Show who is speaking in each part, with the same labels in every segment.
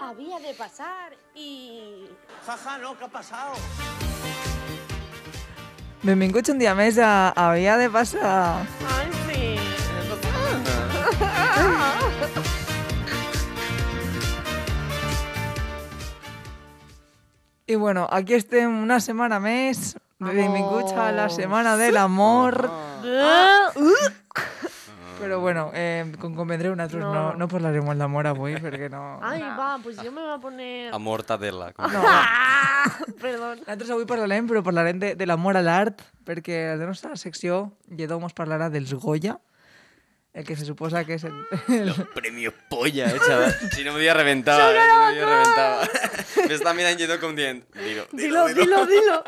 Speaker 1: había de pasar y...
Speaker 2: Jaja, no, ¿qué ha pasado?
Speaker 3: Benvinguts un dia més a Havia de passar.
Speaker 1: Ay, sí.
Speaker 3: I bueno, aquí estem una setmana més. Benvinguts a la setmana de l'amor. Però bueno, eh, com convendreu, nosaltres no, no, no parlarem molt d'amor avui, perquè no...
Speaker 1: Ay, va, pues yo me voy a poner...
Speaker 4: A mortadela. com-
Speaker 3: no.
Speaker 1: Perdón.
Speaker 3: Nosaltres avui parlarem, però parlarem de, de l'amor a l'art, perquè a la nostra secció Lledó mos parlarà dels Goya, el que se suposa que és el... el...
Speaker 4: Premio polla, eh, chaval. Si no me había reventado, eh, si no me había reventado. Me está mirando yendo con dient. Dilo,
Speaker 1: Dilo, dilo,
Speaker 4: dilo,
Speaker 1: dilo.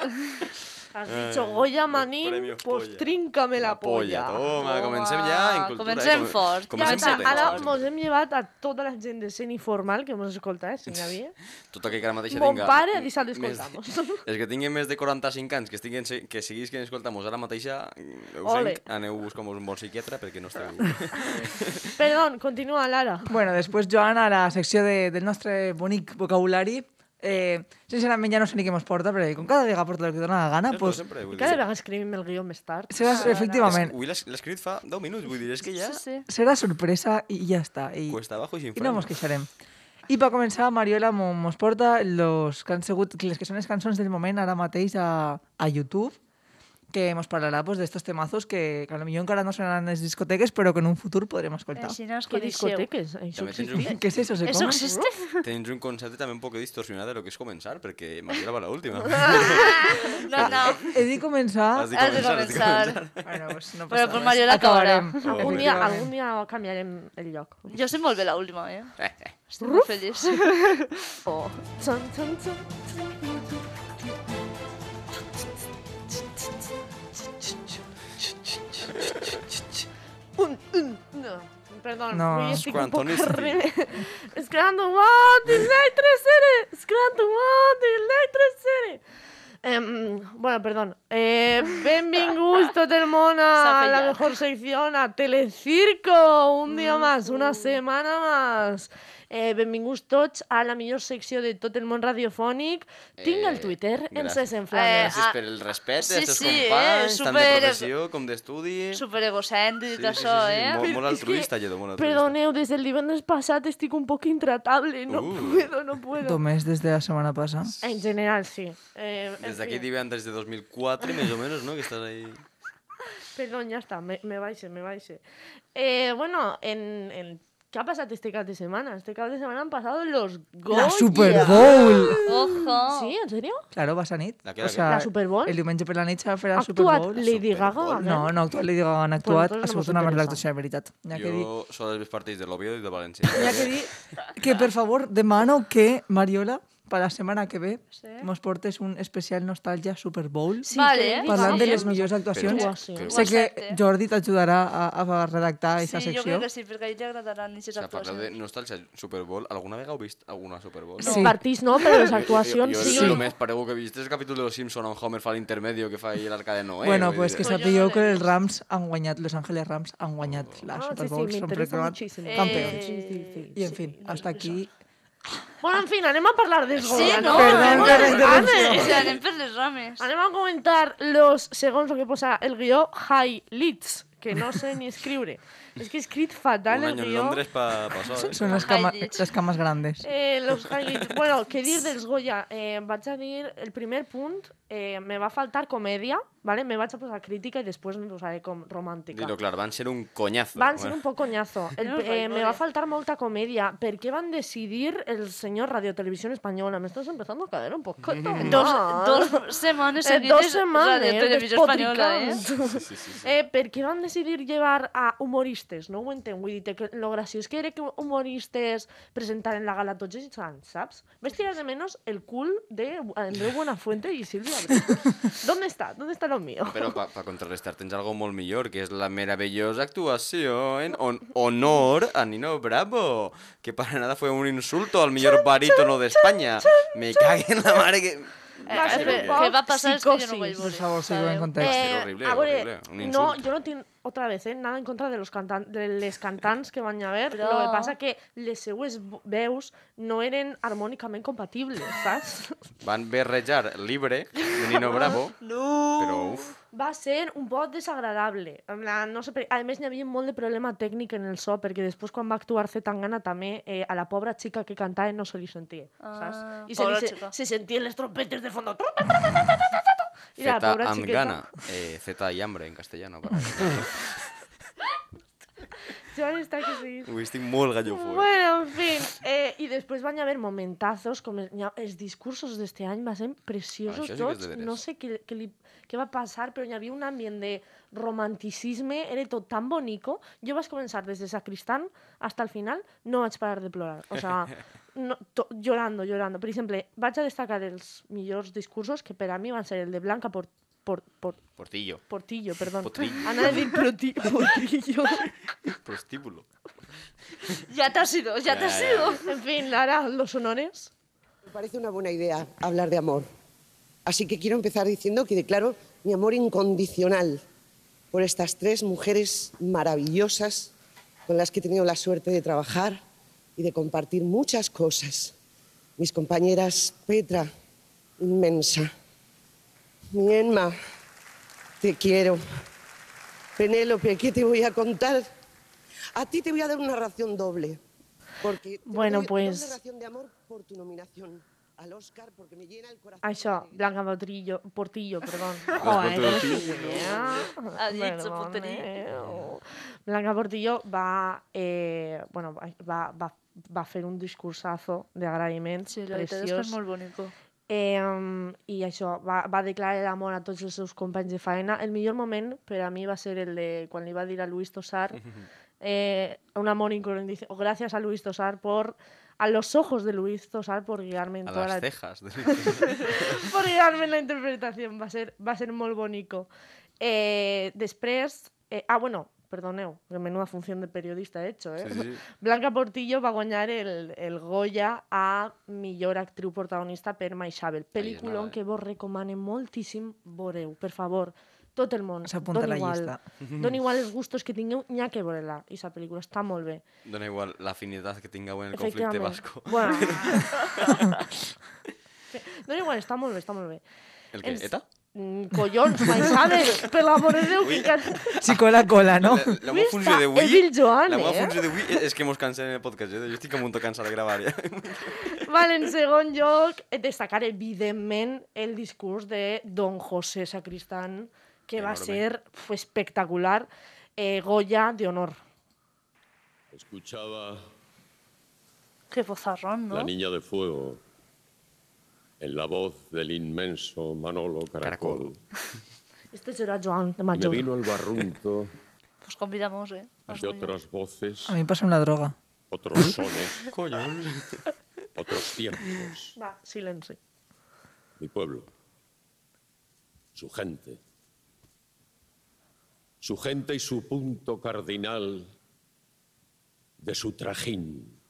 Speaker 1: Has
Speaker 4: Eh,
Speaker 1: dicho Goya
Speaker 4: premio
Speaker 1: Manín, pues
Speaker 4: polla.
Speaker 1: tríncame la polla.
Speaker 4: Polla, toma,
Speaker 5: Toma.
Speaker 4: comencem ja en cultura. eh,
Speaker 5: Comencem
Speaker 4: com-
Speaker 5: fort.
Speaker 1: Ja
Speaker 4: Comencem
Speaker 1: està,
Speaker 4: fort.
Speaker 1: ara
Speaker 4: eh,
Speaker 1: mos hem llevat a tota la gent de sent informal que mos escolta, eh, senyor Bia.
Speaker 4: Tot aquell que ara mateix
Speaker 1: Mon
Speaker 4: tinga...
Speaker 1: pare ha dit, "Lo
Speaker 4: més
Speaker 1: escoltamos".
Speaker 4: De, els que tinguin més de 45 anys, que, estiguen, se- que siguis que escoltamos ara mateixa, ho
Speaker 1: Ole.
Speaker 4: sent, aneu buscant un bon psiquiatre perquè no esteu...
Speaker 1: Perdón, continúa, Lara.
Speaker 3: Bueno, després, Joan, a la secció de, del nostre bonic vocabulari, eh, sincerament ja no sé ni què mos porta, perquè com cada vegada porta el que dona la gana,
Speaker 4: Pues,
Speaker 3: pues,
Speaker 4: sempre, vull
Speaker 1: Cada
Speaker 4: dir.
Speaker 1: vegada escrivim el guió més tard.
Speaker 3: seràs,
Speaker 4: És-
Speaker 3: efectivament,
Speaker 4: Avui l'has l'has escrit fa 10 minuts, vull dir, és que ja...
Speaker 5: Sí, sí.
Speaker 3: serà sorpresa i ja està. I,
Speaker 4: Cuesta abajo i
Speaker 3: i
Speaker 4: sin
Speaker 3: no
Speaker 4: freno.
Speaker 3: mos queixarem. I per començar, Mariola mo- mos porta los que han sigut, les que són les cançons del moment ara mateix a, a YouTube, que mos parlarà pues, d'estos temazos que, que potser encara no sonaran a les discoteques, però que en un futur podrem escoltar.
Speaker 1: Eh,
Speaker 5: Així no es
Speaker 1: Que
Speaker 5: coneixeu.
Speaker 1: discoteques, això
Speaker 4: També tens
Speaker 1: existia.
Speaker 4: un,
Speaker 3: Què és eso? ¿Se
Speaker 5: Eso
Speaker 3: come?
Speaker 5: existe?
Speaker 4: tens un concepte també un poc distorsionat de lo que és començar, perquè Maria va l'última.
Speaker 5: No, no.
Speaker 3: He de començar...
Speaker 4: Has de
Speaker 5: Has de
Speaker 4: començar, has de començar.
Speaker 5: començar.
Speaker 3: Bueno, pues no
Speaker 5: Però
Speaker 3: passa
Speaker 5: per
Speaker 3: res.
Speaker 5: Mariola acabarà.
Speaker 3: Acabarem.
Speaker 1: Algun dia,
Speaker 3: Efectivament.
Speaker 1: algun dia canviarem el lloc.
Speaker 5: Jo soy molt bé l'última, eh? Estic molt feliç.
Speaker 1: Oh. Txan, txan, txan. Un, un, no. Perdón,
Speaker 3: No.
Speaker 1: avui estic un poc
Speaker 4: Squantonista.
Speaker 1: arriba. Scranton What, electricity! Scranton What, electricity! Em, bueno, perdón. Eh, benvinguts tot el món
Speaker 5: S'ha
Speaker 1: a la
Speaker 5: fallat.
Speaker 1: mejor sección, a Telecirco, un dia més, una setmana més. Eh, benvinguts tots a la millor secció de tot el món radiofònic. Tinc el
Speaker 4: Eh,
Speaker 1: Twitter, ens
Speaker 4: gràcies.
Speaker 1: desenflames.
Speaker 4: Gràcies
Speaker 5: ah,
Speaker 4: per el respecte
Speaker 5: sí,
Speaker 4: dels teus
Speaker 5: sí, eh,
Speaker 4: companys, tant de
Speaker 5: super-
Speaker 4: professió com d'estudi.
Speaker 5: Super egocèntric, sí, això, eh?
Speaker 4: Molt, molt
Speaker 1: És que-
Speaker 4: altruista, Lledó, molt altruista.
Speaker 1: Perdoneu, des del divendres passat estic un poc intratable, no
Speaker 4: Uh.
Speaker 1: puedo, no puedo.
Speaker 3: Només des de la setmana passada.
Speaker 1: En general, sí. Eh, en
Speaker 4: Des d'aquí
Speaker 1: fi.
Speaker 4: divendres de 2004, més o menys, no? Que estàs ahí...
Speaker 1: Perdón, ya está, me, me baixe, me baixe. Eh, bueno, en, en- ¿qué ha pasado este cap de semana? Este cap de semana han pasado los Goya.
Speaker 3: La Super Bowl!
Speaker 5: Ojo.
Speaker 1: ¿Sí? ¿En serio?
Speaker 3: Claro, vas a nit.
Speaker 4: La que, la que.
Speaker 3: sea,
Speaker 1: La Super Bowl?
Speaker 3: El diumenge per la nit s'ha fet
Speaker 1: ¿Ha
Speaker 3: la Super
Speaker 1: actuado
Speaker 3: Bowl.
Speaker 1: Lady
Speaker 4: Super
Speaker 1: Gaga?
Speaker 4: Bowl.
Speaker 3: No, no, ha actuat Lady Gaga, han oh, actuat,
Speaker 1: nosaltres
Speaker 3: ha
Speaker 1: no
Speaker 3: sigut
Speaker 1: mos
Speaker 3: una merda
Speaker 1: interessa.
Speaker 3: d'actuació, de veritat. N'hi ha que dir...
Speaker 4: Jo sóc dels partits de l'Oviedo i de València.
Speaker 3: N'hi ha que dir que, per favor, demano que Mariola, per la setmana que ve,
Speaker 5: Sí.
Speaker 3: mos portes un especial nostàlgia Super Bowl.
Speaker 1: Sí,
Speaker 5: Vale.
Speaker 1: que Lady
Speaker 3: Parlant
Speaker 1: Gaga-
Speaker 3: de les millors actuacions,
Speaker 1: Però- eh? Sí,
Speaker 3: sé que
Speaker 5: accepte.
Speaker 3: Jordi t'ajudarà a, a redactar aquesta
Speaker 5: Sí, jo
Speaker 3: secció.
Speaker 5: crec que sí, perquè a ell li agradaran aquestes
Speaker 4: O sea, parleu de
Speaker 5: actuacions.
Speaker 4: nostàlgia Super Bowl. Alguna vegada heu vist alguna Super Bowl?
Speaker 3: No.
Speaker 1: Els partits no, però les actuacions
Speaker 4: jo, jo,
Speaker 1: sí.
Speaker 4: Jo, el més pareu que he vist és el capítol de Los Simpson on Homer fa l'intermedio que fa ahí l'arca de Noé.
Speaker 3: Bueno,
Speaker 4: vull
Speaker 3: pues
Speaker 4: dir.
Speaker 3: que
Speaker 5: Pues yo
Speaker 3: sapigueu
Speaker 5: no
Speaker 3: que
Speaker 5: l'he
Speaker 3: els Rams han guanyat, Los Angeles Rams han guanyat la
Speaker 1: Ah,
Speaker 3: Super
Speaker 1: sí,
Speaker 3: Bowl,
Speaker 1: sí,
Speaker 3: són
Speaker 1: m'interessa
Speaker 3: proclamat
Speaker 1: moltíssim. Eh,
Speaker 3: campeons.
Speaker 1: Sí, sí, sí.
Speaker 3: I en fin, hasta aquí.
Speaker 1: Bueno, en fin, anem a parlar dels
Speaker 5: Sí,
Speaker 1: Goya,
Speaker 5: no?
Speaker 3: Perdón
Speaker 5: anem
Speaker 3: per
Speaker 5: per
Speaker 3: la
Speaker 5: les
Speaker 3: interrupció.
Speaker 5: rames. Sí, anem per les rames.
Speaker 1: Anem a comentar los, segons el que posa el guió, highlights, que no sé ni escriure. És que he escrit fatal
Speaker 4: Un
Speaker 1: el
Speaker 4: any en
Speaker 1: guió.
Speaker 4: Londres pa, pasó, eh?
Speaker 3: Són les, cama,
Speaker 5: Highlights.
Speaker 3: les cames grandes.
Speaker 1: Eh, los highlights. Bueno, què dir dels Goya? Eh, vaig a dir, el primer punt, eh, me va faltar comèdia, vale? me vaig a posar crítica i després no posaré com romàntica.
Speaker 4: Dilo clar, van ser un coñazo.
Speaker 1: Van ser
Speaker 4: Bueno.
Speaker 1: un poc conyazo. El,
Speaker 5: No,
Speaker 1: eh, me
Speaker 5: vale.
Speaker 1: va faltar molta comèdia. Per què van decidir el senyor Radio Televisión Española? Me estás empezando a caer un poquito.
Speaker 5: Dos,
Speaker 1: mal.
Speaker 5: dos setmanes
Speaker 1: Ah. Eh,
Speaker 5: seguides
Speaker 1: dos setmanes,
Speaker 5: Radio Televisió Espanyola, eh?
Speaker 1: despotricant. Eh, per què van decidir llevar a humoristes? No ho entenc, vull dir, que lo graciós que era que humoristes presentaren la gala tots ells anys, saps? Vaig tirar de menos el cul de Andreu Buenafuente i Silvia Abril. ¿Dónde está? ¿Dónde está lo mío?
Speaker 4: Però pa, pa contrarrestar tens algo molt millor, que és la meravellosa actuació en on, honor a Nino Bravo, que para nada fue un insulto al millor barítono d'Espanya. Me cague en la mare que...
Speaker 1: va ser
Speaker 4: eh,
Speaker 1: un
Speaker 4: eh,
Speaker 1: poc
Speaker 5: què va passar és que jo no
Speaker 1: psicosis.
Speaker 5: vaig voler.
Speaker 3: Por favor, sigo
Speaker 5: Sabeu?
Speaker 3: en contexto.
Speaker 4: Eh,
Speaker 1: Eh,
Speaker 4: horrible,
Speaker 1: a veure,
Speaker 4: horrible, un
Speaker 1: no,
Speaker 4: insult.
Speaker 1: jo no tinc, otra vez, eh, nada en contra de, los cantan de les cantants que van haver,
Speaker 5: Però-
Speaker 1: però... lo que passa que les seues vo- veus no eren harmònicament compatibles, saps?
Speaker 4: Van berrejar Libre de Nino Bravo,
Speaker 5: No!
Speaker 4: però uf,
Speaker 1: Va ser un poc desagradable. En plan, no sé, per- a més, hi havia molt de problema tècnic en el so, perquè després quan va actuar C. Tangana també eh, a la pobra xica que cantava no se li sentia, saps?
Speaker 5: Ah,
Speaker 1: I se,
Speaker 5: pobra
Speaker 1: li, se,
Speaker 5: xica.
Speaker 1: se sentien les trompetes de fondo. I la
Speaker 4: Z
Speaker 1: pobra
Speaker 4: amb
Speaker 1: xiqueta-
Speaker 4: gana, eh, Z y hambre en castellano. Para...
Speaker 1: Joan està que sí.
Speaker 4: Ui, estic molt gallofo. Eh?
Speaker 1: Bueno, en fin. Eh, y después van a haber momentazos, com els, els discursos este d'este any van ser preciosos
Speaker 4: Això Ah, sí que és
Speaker 1: tots.
Speaker 4: de veres.
Speaker 1: no sé què, què, li, què va passar, però hi havia un ambient de romanticisme, era tot tan bonico. Jo vaig començar des de Sacristán hasta el final, no vaig parar de plorar. O sea, no, to, llorando, llorando. Per exemple, vaig a destacar els millors discursos que per a mi van ser el de Blanca Port, Port, Port,
Speaker 4: Portillo,
Speaker 1: Portillo, perdó.
Speaker 4: Potrillo.
Speaker 1: Anava a dir Proti- Portillo.
Speaker 4: prostíbulo.
Speaker 5: Ya te has ido, ya te
Speaker 4: Ya,
Speaker 5: has
Speaker 4: ya,
Speaker 5: ido.
Speaker 1: en fin, Lara, los honores.
Speaker 2: Me parece una buena idea hablar de amor. Así que quiero empezar diciendo que declaro mi amor incondicional por estas tres mujeres maravillosas con las que he tenido la suerte de trabajar y de compartir muchas cosas. Mis compañeras Petra, inmensa. Mi Enma, te quiero. Penélope, ¿qué te voy a contar? A ti te voy a dar una ración doble. Porque te
Speaker 1: Bueno,
Speaker 2: doy
Speaker 1: pues-
Speaker 2: doble ración de amor por tu nominación al Oscar porque me llena el corazón.
Speaker 1: Això, Ah, Blanca Potrillo, Portillo, perdón.
Speaker 5: Ah, Ha Ah, dicho Potrillo.
Speaker 1: Blanca Portillo va, eh, bueno, va- va, va, va fer un discursazo d'agraïment
Speaker 5: Sí, la veritat és que és
Speaker 1: preciós.
Speaker 5: molt bonico.
Speaker 1: Eh, I això, va, va declarar l'amor a tots els seus companys de faena. El millor moment per a mi va ser el de quan li va dir a Luis Tosar eh, un amor incondicional. O Gracias a Luis Tosar por... A los ojos de Luis Tosar por guiarme en
Speaker 4: A
Speaker 1: toda
Speaker 4: las
Speaker 1: la
Speaker 4: cejas.
Speaker 1: por guiarme en la interpretación. Va a ser, va a ser molt bonico. Eh, després... Eh, ah, bueno, perdoneu, que menuda función de periodista he hecho, eh?
Speaker 4: Sí, sí.
Speaker 1: Blanca Portillo va guanyar el, el Goya a millor actriu protagonista per Maixabel. Pel·lícula
Speaker 4: anava, eh?
Speaker 1: que vos recomane moltíssim voreu, per favor. Tot el món.
Speaker 3: S'apunta
Speaker 1: Don
Speaker 3: a la
Speaker 1: igual,
Speaker 3: llista.
Speaker 1: Don igual els gustos que tingueu, n'hi ha que veure-la. I aquesta pel·lícula està molt bé.
Speaker 4: Dona igual la afinidad que tenga en el conflicte
Speaker 1: Efectivament.
Speaker 4: vasco.
Speaker 1: Bueno. Don igual, està molt bé, està molt bé.
Speaker 4: El que,
Speaker 1: ens-
Speaker 4: ¿ETA?
Speaker 1: Mm, collons, Maixabel, per l'amor de Déu, que can...
Speaker 3: Chico la cola, ¿no?
Speaker 4: La, la meva
Speaker 1: Vés
Speaker 4: funció
Speaker 1: a
Speaker 4: d'avui...
Speaker 1: Evil Joan,
Speaker 4: La meva
Speaker 1: eh?
Speaker 4: funció d'avui és- és que mos cansen el podcast, eh? Jo estic a punt de cansar de gravar, eh? ja.
Speaker 1: Vale, en segon lloc, eh, destacar evidentment el discurs de Don José Sacristán, que va
Speaker 4: Enorme.
Speaker 1: ser pf, espectacular, eh, Goya de honor.
Speaker 6: Escuchaba
Speaker 5: Qué bozarrón, ¿no?
Speaker 6: la niña de fuego en la voz del inmenso Manolo Caracol.
Speaker 1: Este serà Joan de
Speaker 6: Me
Speaker 1: Major.
Speaker 6: vino al barrunto
Speaker 5: Pues convidamos, ¿eh? Nos
Speaker 6: de
Speaker 5: unimos.
Speaker 6: otras voces,
Speaker 3: A mí pasa una droga.
Speaker 6: otros sones,
Speaker 4: Coño.
Speaker 6: otros tiempos.
Speaker 1: Va, silenci.
Speaker 6: Mi pueblo, su gente, su gente y su punto cardinal de su trajín.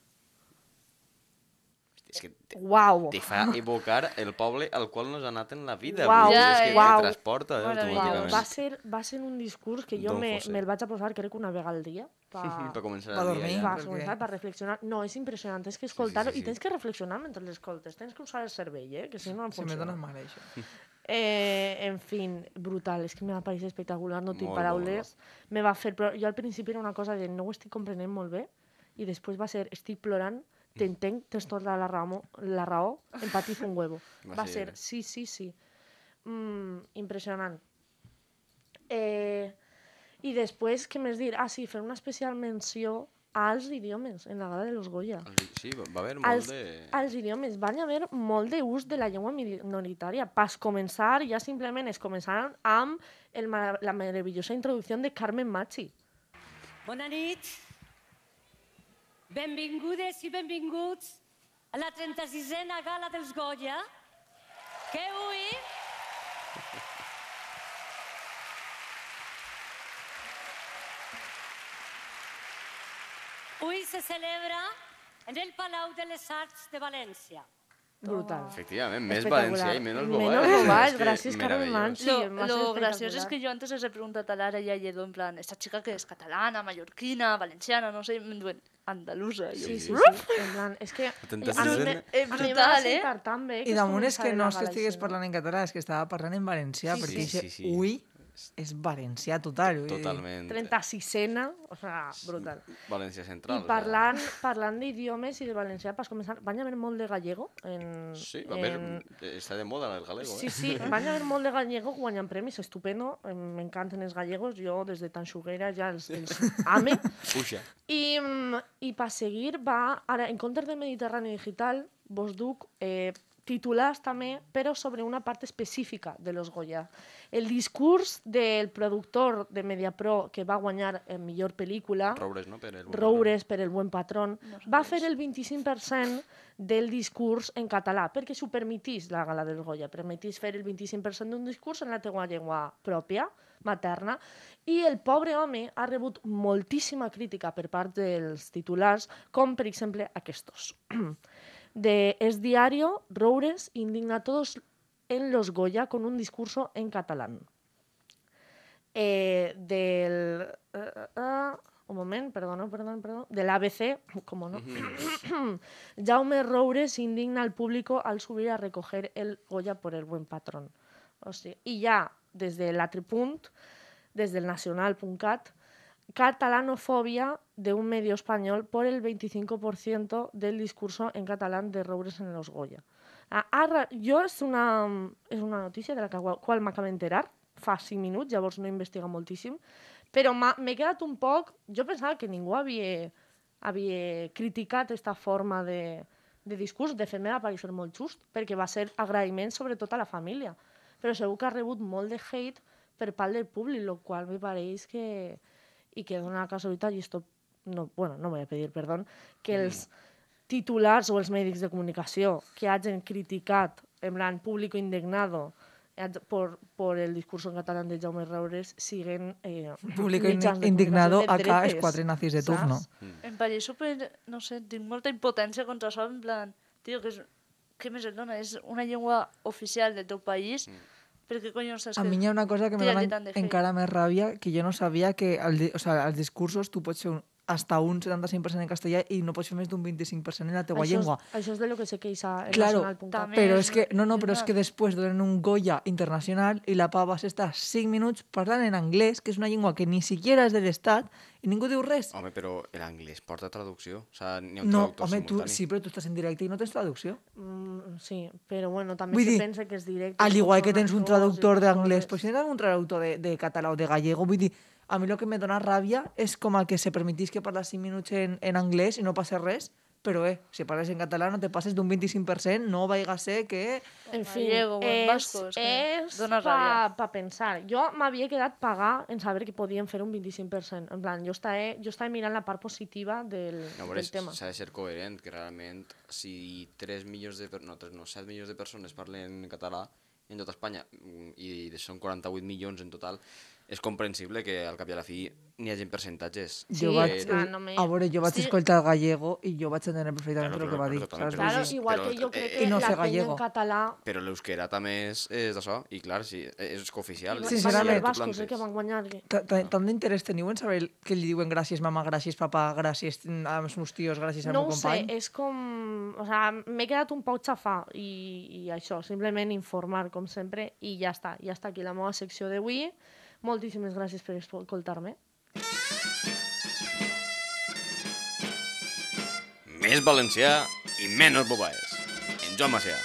Speaker 4: És que te,
Speaker 1: Uau.
Speaker 4: te fa evocar el poble al qual no has anat en la vida.
Speaker 1: Uau.
Speaker 4: vull dir,
Speaker 5: Ja,
Speaker 4: és que
Speaker 5: eh?
Speaker 1: Uau.
Speaker 4: te transporta, eh,
Speaker 5: Maravillós.
Speaker 1: Uau.
Speaker 4: automàticament.
Speaker 1: Va, ser, va ser un discurs que jo
Speaker 4: Don
Speaker 1: me,
Speaker 4: José.
Speaker 1: me'l vaig a posar crec una vegada al dia. Pa...
Speaker 4: Mm, Per començar
Speaker 3: Va
Speaker 4: el
Speaker 3: dormir.
Speaker 4: dia,
Speaker 1: Va,
Speaker 4: ja.
Speaker 3: perquè-
Speaker 1: començar, va reflexionar. No, és impressionant, és que escoltar-ho
Speaker 4: sí, sí.
Speaker 1: i tens que reflexionar mentre l'escoltes, tens que usar el cervell, eh? que si no no
Speaker 3: Se me
Speaker 1: funciona.
Speaker 3: dona mal eso.
Speaker 1: Eh, en fin, brutal. És que me va parecer espectacular, no tinc
Speaker 4: Molt,
Speaker 1: paraules. Me va fer... Però jo al principi era una cosa de no ho estic comprenent molt bé i després va ser estic plorant,
Speaker 4: Mm.
Speaker 1: t'entenc, tens tota la raó, la raó empatizo un huevo.
Speaker 4: Va
Speaker 1: Va
Speaker 4: ser-
Speaker 1: ser, sí, sí, sí. Mm, impressionant. Eh, I després, què més dir? Ah, sí, fer una especial menció als idiomes en la gala de los Goya
Speaker 4: Sí, va va haver
Speaker 1: als,
Speaker 4: molt de...
Speaker 1: als idiomes van haver molt d'ús de la llengua minoritària. Pas començar, ja simplement es començaran amb el, mara- la meravellosa introducció de Carmen Machi.
Speaker 7: Bona nit. Benvingudes i benvinguts a la 36a gala dels Goya, que avui... Avui se celebra en el Palau de les Arts de València.
Speaker 1: Brutal.
Speaker 4: Efectivament, més València eh, i menys Bobal.
Speaker 1: Menos
Speaker 4: És
Speaker 1: Bobal,
Speaker 4: que
Speaker 1: gràcies, Carmen
Speaker 4: meravellós.
Speaker 1: Mans. Sí,
Speaker 5: lo,
Speaker 1: va a ser
Speaker 5: lo gracioso es
Speaker 1: espectacular.
Speaker 5: que yo antes les he preguntado a Lara y a Yedo, en plan, esta chica que es catalana, mallorquina, valenciana, no sé, bueno, andalusa. yo.
Speaker 1: Sí, sí, sí. En plan, és que...
Speaker 4: Atentes
Speaker 1: a mi
Speaker 4: en-
Speaker 1: me-
Speaker 5: Eh,
Speaker 1: a mi em va
Speaker 5: brutal, eh?
Speaker 1: sentar tan bé que
Speaker 3: I damunt és que
Speaker 1: començava
Speaker 3: no
Speaker 1: la
Speaker 3: és que estigués
Speaker 1: galaxia.
Speaker 3: parlant en català, és que estava parlant en valencià,
Speaker 1: Sí,
Speaker 3: perquè
Speaker 4: sí.
Speaker 3: sí,
Speaker 4: Sí, sí, sí.
Speaker 3: ui és valencià total. vull dir,
Speaker 4: Totalment.
Speaker 1: 36ena, o sea, brutal.
Speaker 4: València
Speaker 1: I
Speaker 4: Central. o sea,
Speaker 1: parlant, parlant d'idiomes i de valencià, vas començar... Van haver molt de gallego en...
Speaker 4: Sí, va haver...
Speaker 1: en-
Speaker 4: eh, Està de moda el galego,
Speaker 1: Sí,
Speaker 4: eh?
Speaker 1: sí, van haver molt de gallego guanyant premis, estupendo, em- m'encanten els gallegos, jo des de tan xuguera ja els, els ame.
Speaker 4: Puja.
Speaker 1: I, mm, i per seguir va, ara, en comptes de Mediterrani Digital, vos duc eh, titulars també, però sobre una part específica de los Goya. El discurs del productor de Mediapro que va guanyar en millor pel·lícula...
Speaker 4: Roures, no? Per el bon
Speaker 1: Roures per el buen patrón, va fer el 25% del discurs en català, perquè s'ho permetís la gala del Goya, permetís fer el 25% d'un discurs en la teua llengua pròpia, materna, i el pobre home ha rebut moltíssima crítica per part dels titulars, com per exemple aquests. De Es Diario, Roures indigna a todos en los Goya con un discurso en catalán. eh, del... eh, eh, eh, un moment, perdona, perdona, perdona. Del ABC, como no. Jaume Roures indigna al público al subir a recoger el Goya por el buen patrón. O sigui, I ja, des de la Tripunt, des del nacional.cat, catalanofobia de un medio español por el 25% del discurso en catalán de Roures en los Goya. Ah, Ara, jo és una, és una notícia de la que, gua- qual m'acabo d'enterar fa 5 minuts, llavors no he investigat moltíssim, però m'ha- m'he quedat un poc... Jo pensava que ningú havia, havia criticat aquesta forma de, de discurs, de fer-me va parecer molt just, perquè va ser agraïment sobretot a la família, però segur que ha rebut molt de hate per part del públic, el qual me pareix que... I que dona la casualitat, i esto... No, bueno, no voy a pedir perdó, que els
Speaker 3: Mm.
Speaker 1: titulars o els mèdics de comunicació que hagin criticat, en plan, públic indignado, hag- por, por el discurso en català de Jaume Raures, siguen eh,
Speaker 3: Público
Speaker 1: mitjans de
Speaker 3: indignado,
Speaker 1: comunicació de
Speaker 3: acá,
Speaker 1: dretes,
Speaker 3: els quatre nazis de turno.
Speaker 1: saps?
Speaker 5: Em pareix super... No sé, tinc molta impotència contra això, en plan... Tio, que és... Què més et dona? És una llengua oficial del teu país, per què collons saps
Speaker 3: A mi hi ha una cosa que me
Speaker 5: Tira-li
Speaker 3: dona
Speaker 5: tant de hate.
Speaker 3: encara més ràbia, que jo no sabia que el, di- o sea, els discursos tu pots fer un, hasta un 75% en castellà i no pots fer més d'un 25% en la teua
Speaker 1: Això és-
Speaker 3: llengua.
Speaker 1: Això és de lo que se queixa el
Speaker 3: Claro,
Speaker 1: Nacional.cat.
Speaker 5: també.
Speaker 3: Però
Speaker 5: Més
Speaker 3: és que, no, no, però és
Speaker 5: internacional.
Speaker 3: que després donen un Goya internacional i la pava s'està 5 minuts parlant en anglès, que és una llengua que ni siquiera és de l'estat, i ningú diu res.
Speaker 4: Home, però l'anglès porta traducció? O sea, n'hi ha un
Speaker 3: No,
Speaker 4: traductor
Speaker 3: home, tu,
Speaker 4: simultani.
Speaker 3: sí, però tu estàs en directe i no tens traducció.
Speaker 1: Mm, sí, però bueno, també
Speaker 3: Vull
Speaker 1: se
Speaker 3: dir,
Speaker 1: pensa que és directe.
Speaker 3: Al
Speaker 1: que
Speaker 3: igual
Speaker 1: són
Speaker 3: que tens un
Speaker 1: actors i
Speaker 3: traductor
Speaker 1: aquestes
Speaker 3: d'anglès,
Speaker 1: coses.
Speaker 3: pues tens un traductor de, de català o de gallego. Vull dir, a mi el que me dona ràbia és com el que se permetís que parles 5 minuts en, en anglès i no passa res, però eh, si parles en català no te passes d'un 25%, no vaiga a ser que...
Speaker 1: En fi,
Speaker 5: gallego o en
Speaker 1: és, eh?
Speaker 5: vasco, és que
Speaker 1: és
Speaker 5: dona
Speaker 1: pa,
Speaker 5: ràbia.
Speaker 1: pa pensar. Jo m'havia quedat pagar en saber que podien fer un 25%. En plan, jo estava, jo estava mirant la part positiva del,
Speaker 4: No, però
Speaker 1: del
Speaker 4: és-
Speaker 1: tema.
Speaker 4: s'ha de ser coherent, que realment si 3 milions de... Per... No, 3, no, 7 milions de persones parlen català en tota Espanya mm, i són 48 milions en total, és comprensible que al cap i a la fi n'hi hagin percentatges.
Speaker 1: Sí,
Speaker 3: jo vaig, eh,
Speaker 1: clar, no me-
Speaker 3: a veure, jo vaig
Speaker 5: Sí.
Speaker 3: escoltar el gallego i jo vaig entendre perfectament
Speaker 4: Claro,
Speaker 3: el que
Speaker 4: però-
Speaker 3: va dir.
Speaker 4: però
Speaker 3: saps?
Speaker 4: totalment,
Speaker 1: Claro,
Speaker 3: Vull
Speaker 4: sí,
Speaker 1: igual
Speaker 4: però-
Speaker 1: que jo crec
Speaker 4: eh,
Speaker 1: que
Speaker 3: I
Speaker 1: la
Speaker 3: no sé
Speaker 1: penya
Speaker 3: gallego.
Speaker 1: en català...
Speaker 4: Però l'eusquera també és, és d'això, i clar, sí, és oficial.
Speaker 1: Van ser
Speaker 3: Sincerament.
Speaker 1: Els bascos eh, que van guanyar. que-
Speaker 3: dir, ta- ta- Tant d'interès teniu en saber el- que li diuen gràcies mama, gràcies papa, gràcies mm, als meus tios, gràcies al
Speaker 1: No
Speaker 3: meu
Speaker 1: ho sé, eh.
Speaker 3: company?
Speaker 1: és com... O sea, m'he quedat un poc xafà i, i això, simplement informar, com sempre, i ja està. Ja està aquí la meva secció d'avui. Moltíssimes gràcies per escoltar-me.
Speaker 4: Més valencià i menys bobaes. En Joan Macià.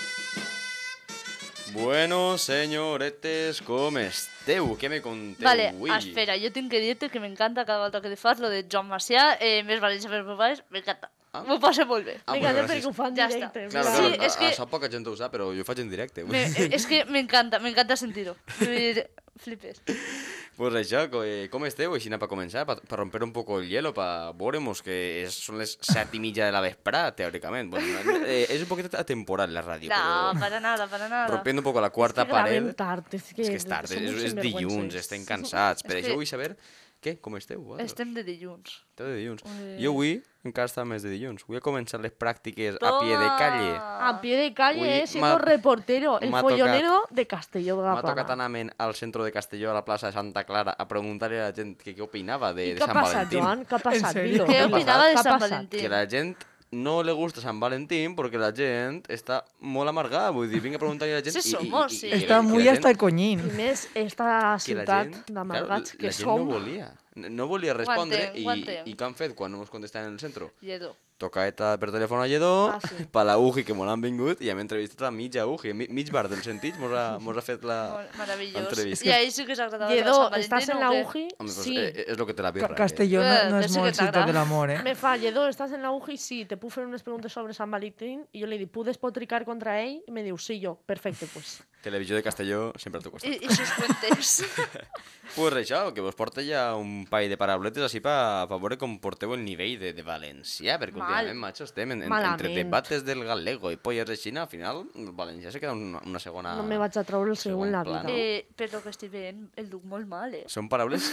Speaker 4: Bueno, senyoretes, com esteu? Què me conteu
Speaker 5: Vale,
Speaker 4: avui?
Speaker 5: espera, jo tinc que dir-te que m'encanta cada volta que li fas lo de Joan Macià, eh, més València per Popais, m'encanta.
Speaker 4: Ah.
Speaker 5: M'ho passa molt bé.
Speaker 4: Ah,
Speaker 1: Vinga, ja
Speaker 4: moltes gràcies.
Speaker 1: perquè ho fan
Speaker 5: Ja
Speaker 1: directe.
Speaker 5: està.
Speaker 4: Claro,
Speaker 1: mira.
Speaker 4: claro,
Speaker 5: Sí, és
Speaker 4: a-
Speaker 5: que-
Speaker 4: això poca gent ho sap, però jo ho faig en directe.
Speaker 5: Me, eh, és que m'encanta, m'encanta sentir-ho. Vull dir, Flipes.
Speaker 4: Pues això, co- eh, com esteu? Aixina per començar, per, per romper un poc el hielo, per veure-mos, que és, són les set i mitja de la vesprà, teòricament. Bueno, no, eh, és un poquet atemporal la ràdio,
Speaker 5: No,
Speaker 4: però
Speaker 5: para nada, para nada.
Speaker 4: rompent un poc la quarta
Speaker 1: que gravem
Speaker 4: paret...
Speaker 1: tard, és que-
Speaker 4: és que és tard,
Speaker 1: som
Speaker 4: és,
Speaker 1: uns
Speaker 4: és dilluns,
Speaker 1: sinvergüences.
Speaker 4: estem cansats. Per
Speaker 5: És
Speaker 4: això
Speaker 5: que-
Speaker 4: vull saber Què? Com esteu? vosaltres?
Speaker 5: Estem de dilluns.
Speaker 4: Esteu de dilluns.
Speaker 5: Ui.
Speaker 4: Jo avui encara estava més de dilluns. Vull començar les pràctiques a pie de calle.
Speaker 1: A pie de calle,
Speaker 4: Uy,
Speaker 1: eh, siendo
Speaker 4: m'ha-
Speaker 1: reportero, el
Speaker 4: m'ha
Speaker 1: follonero de Castelló de la
Speaker 4: M'ha tocat
Speaker 1: Plana.
Speaker 4: anar-me'n al centre de Castelló, a la plaça de Santa Clara, a preguntar-li a la gent que què opinava de,
Speaker 1: I
Speaker 4: de
Speaker 1: què ha
Speaker 4: Sant
Speaker 1: passat,
Speaker 4: Valentín.
Speaker 1: Joan? Què ha passat,
Speaker 3: serio?
Speaker 1: Milo?
Speaker 5: Què
Speaker 1: ha
Speaker 5: opinava
Speaker 1: passat?
Speaker 5: de Sant
Speaker 1: Què ha passat?
Speaker 5: Valentín?
Speaker 4: Que la gent no le gusta Sant Valentín perquè la gent està molt amargada. Vull dir, vinc a preguntar-li a la gent...
Speaker 5: Sí, somos, sí.
Speaker 4: la-
Speaker 3: Está
Speaker 4: la
Speaker 3: muy
Speaker 4: gent-
Speaker 3: hasta el
Speaker 1: I
Speaker 3: coñín.
Speaker 1: més, esta
Speaker 4: que la
Speaker 1: ciutat
Speaker 4: gent, claro,
Speaker 1: d'amargats que
Speaker 4: la gent
Speaker 1: som.
Speaker 4: no volia, no- no volia respondre
Speaker 5: entenc, ho entenc.
Speaker 4: i, i què han fet quan no ens contestaven en el centre?
Speaker 5: Lledó.
Speaker 4: Tocaeta per telèfon a Lledó,
Speaker 1: Ah, sí.
Speaker 4: per la UGI, que me l'han vingut, i hem entrevistat a mitja UGI, mi- mig bar dels sentits, mos ha, mos ha fet la
Speaker 5: Molt Meravellós.
Speaker 4: l'entrevista.
Speaker 5: I ahí sí que s'agradava de
Speaker 1: Lledó,
Speaker 5: Sant Valentín.
Speaker 1: ¿estás en la
Speaker 5: o què?
Speaker 1: UGI?
Speaker 4: Home, pues,
Speaker 1: Sí.
Speaker 4: eh, eh, és lo que té la birra. que-
Speaker 3: Castelló
Speaker 5: Eh,
Speaker 3: no, no
Speaker 5: de
Speaker 3: es muy el
Speaker 5: secretara.
Speaker 3: sitio del amor, ¿eh?
Speaker 1: Me fa, Lledó, estàs en la UGI? Sí, te puc fer unes preguntes sobre Sant Valentín i jo li dic, pudes potricar contra ell? I me diu, sí, jo, perfecte, pues.
Speaker 4: Televisió de Castelló, sempre al teu
Speaker 5: I,
Speaker 4: costat.
Speaker 5: i sus cuentes.
Speaker 4: Pues això, que vos porta ja un paio de parauletes així pa, pa veure com porteu el nivell de, de valencià, perquè
Speaker 1: Mal.
Speaker 4: últimament, eh, macho, estem en, en, entre
Speaker 1: Malament.
Speaker 4: debates del gallego i polles de Xina, al final el valencià se queda una, una segona...
Speaker 1: No me vaig a treure el segon
Speaker 4: segon
Speaker 1: la
Speaker 4: plan.
Speaker 1: vida.
Speaker 4: Eh,
Speaker 5: eh, per lo que estic veient, el duc molt mal, eh?
Speaker 4: Són paraules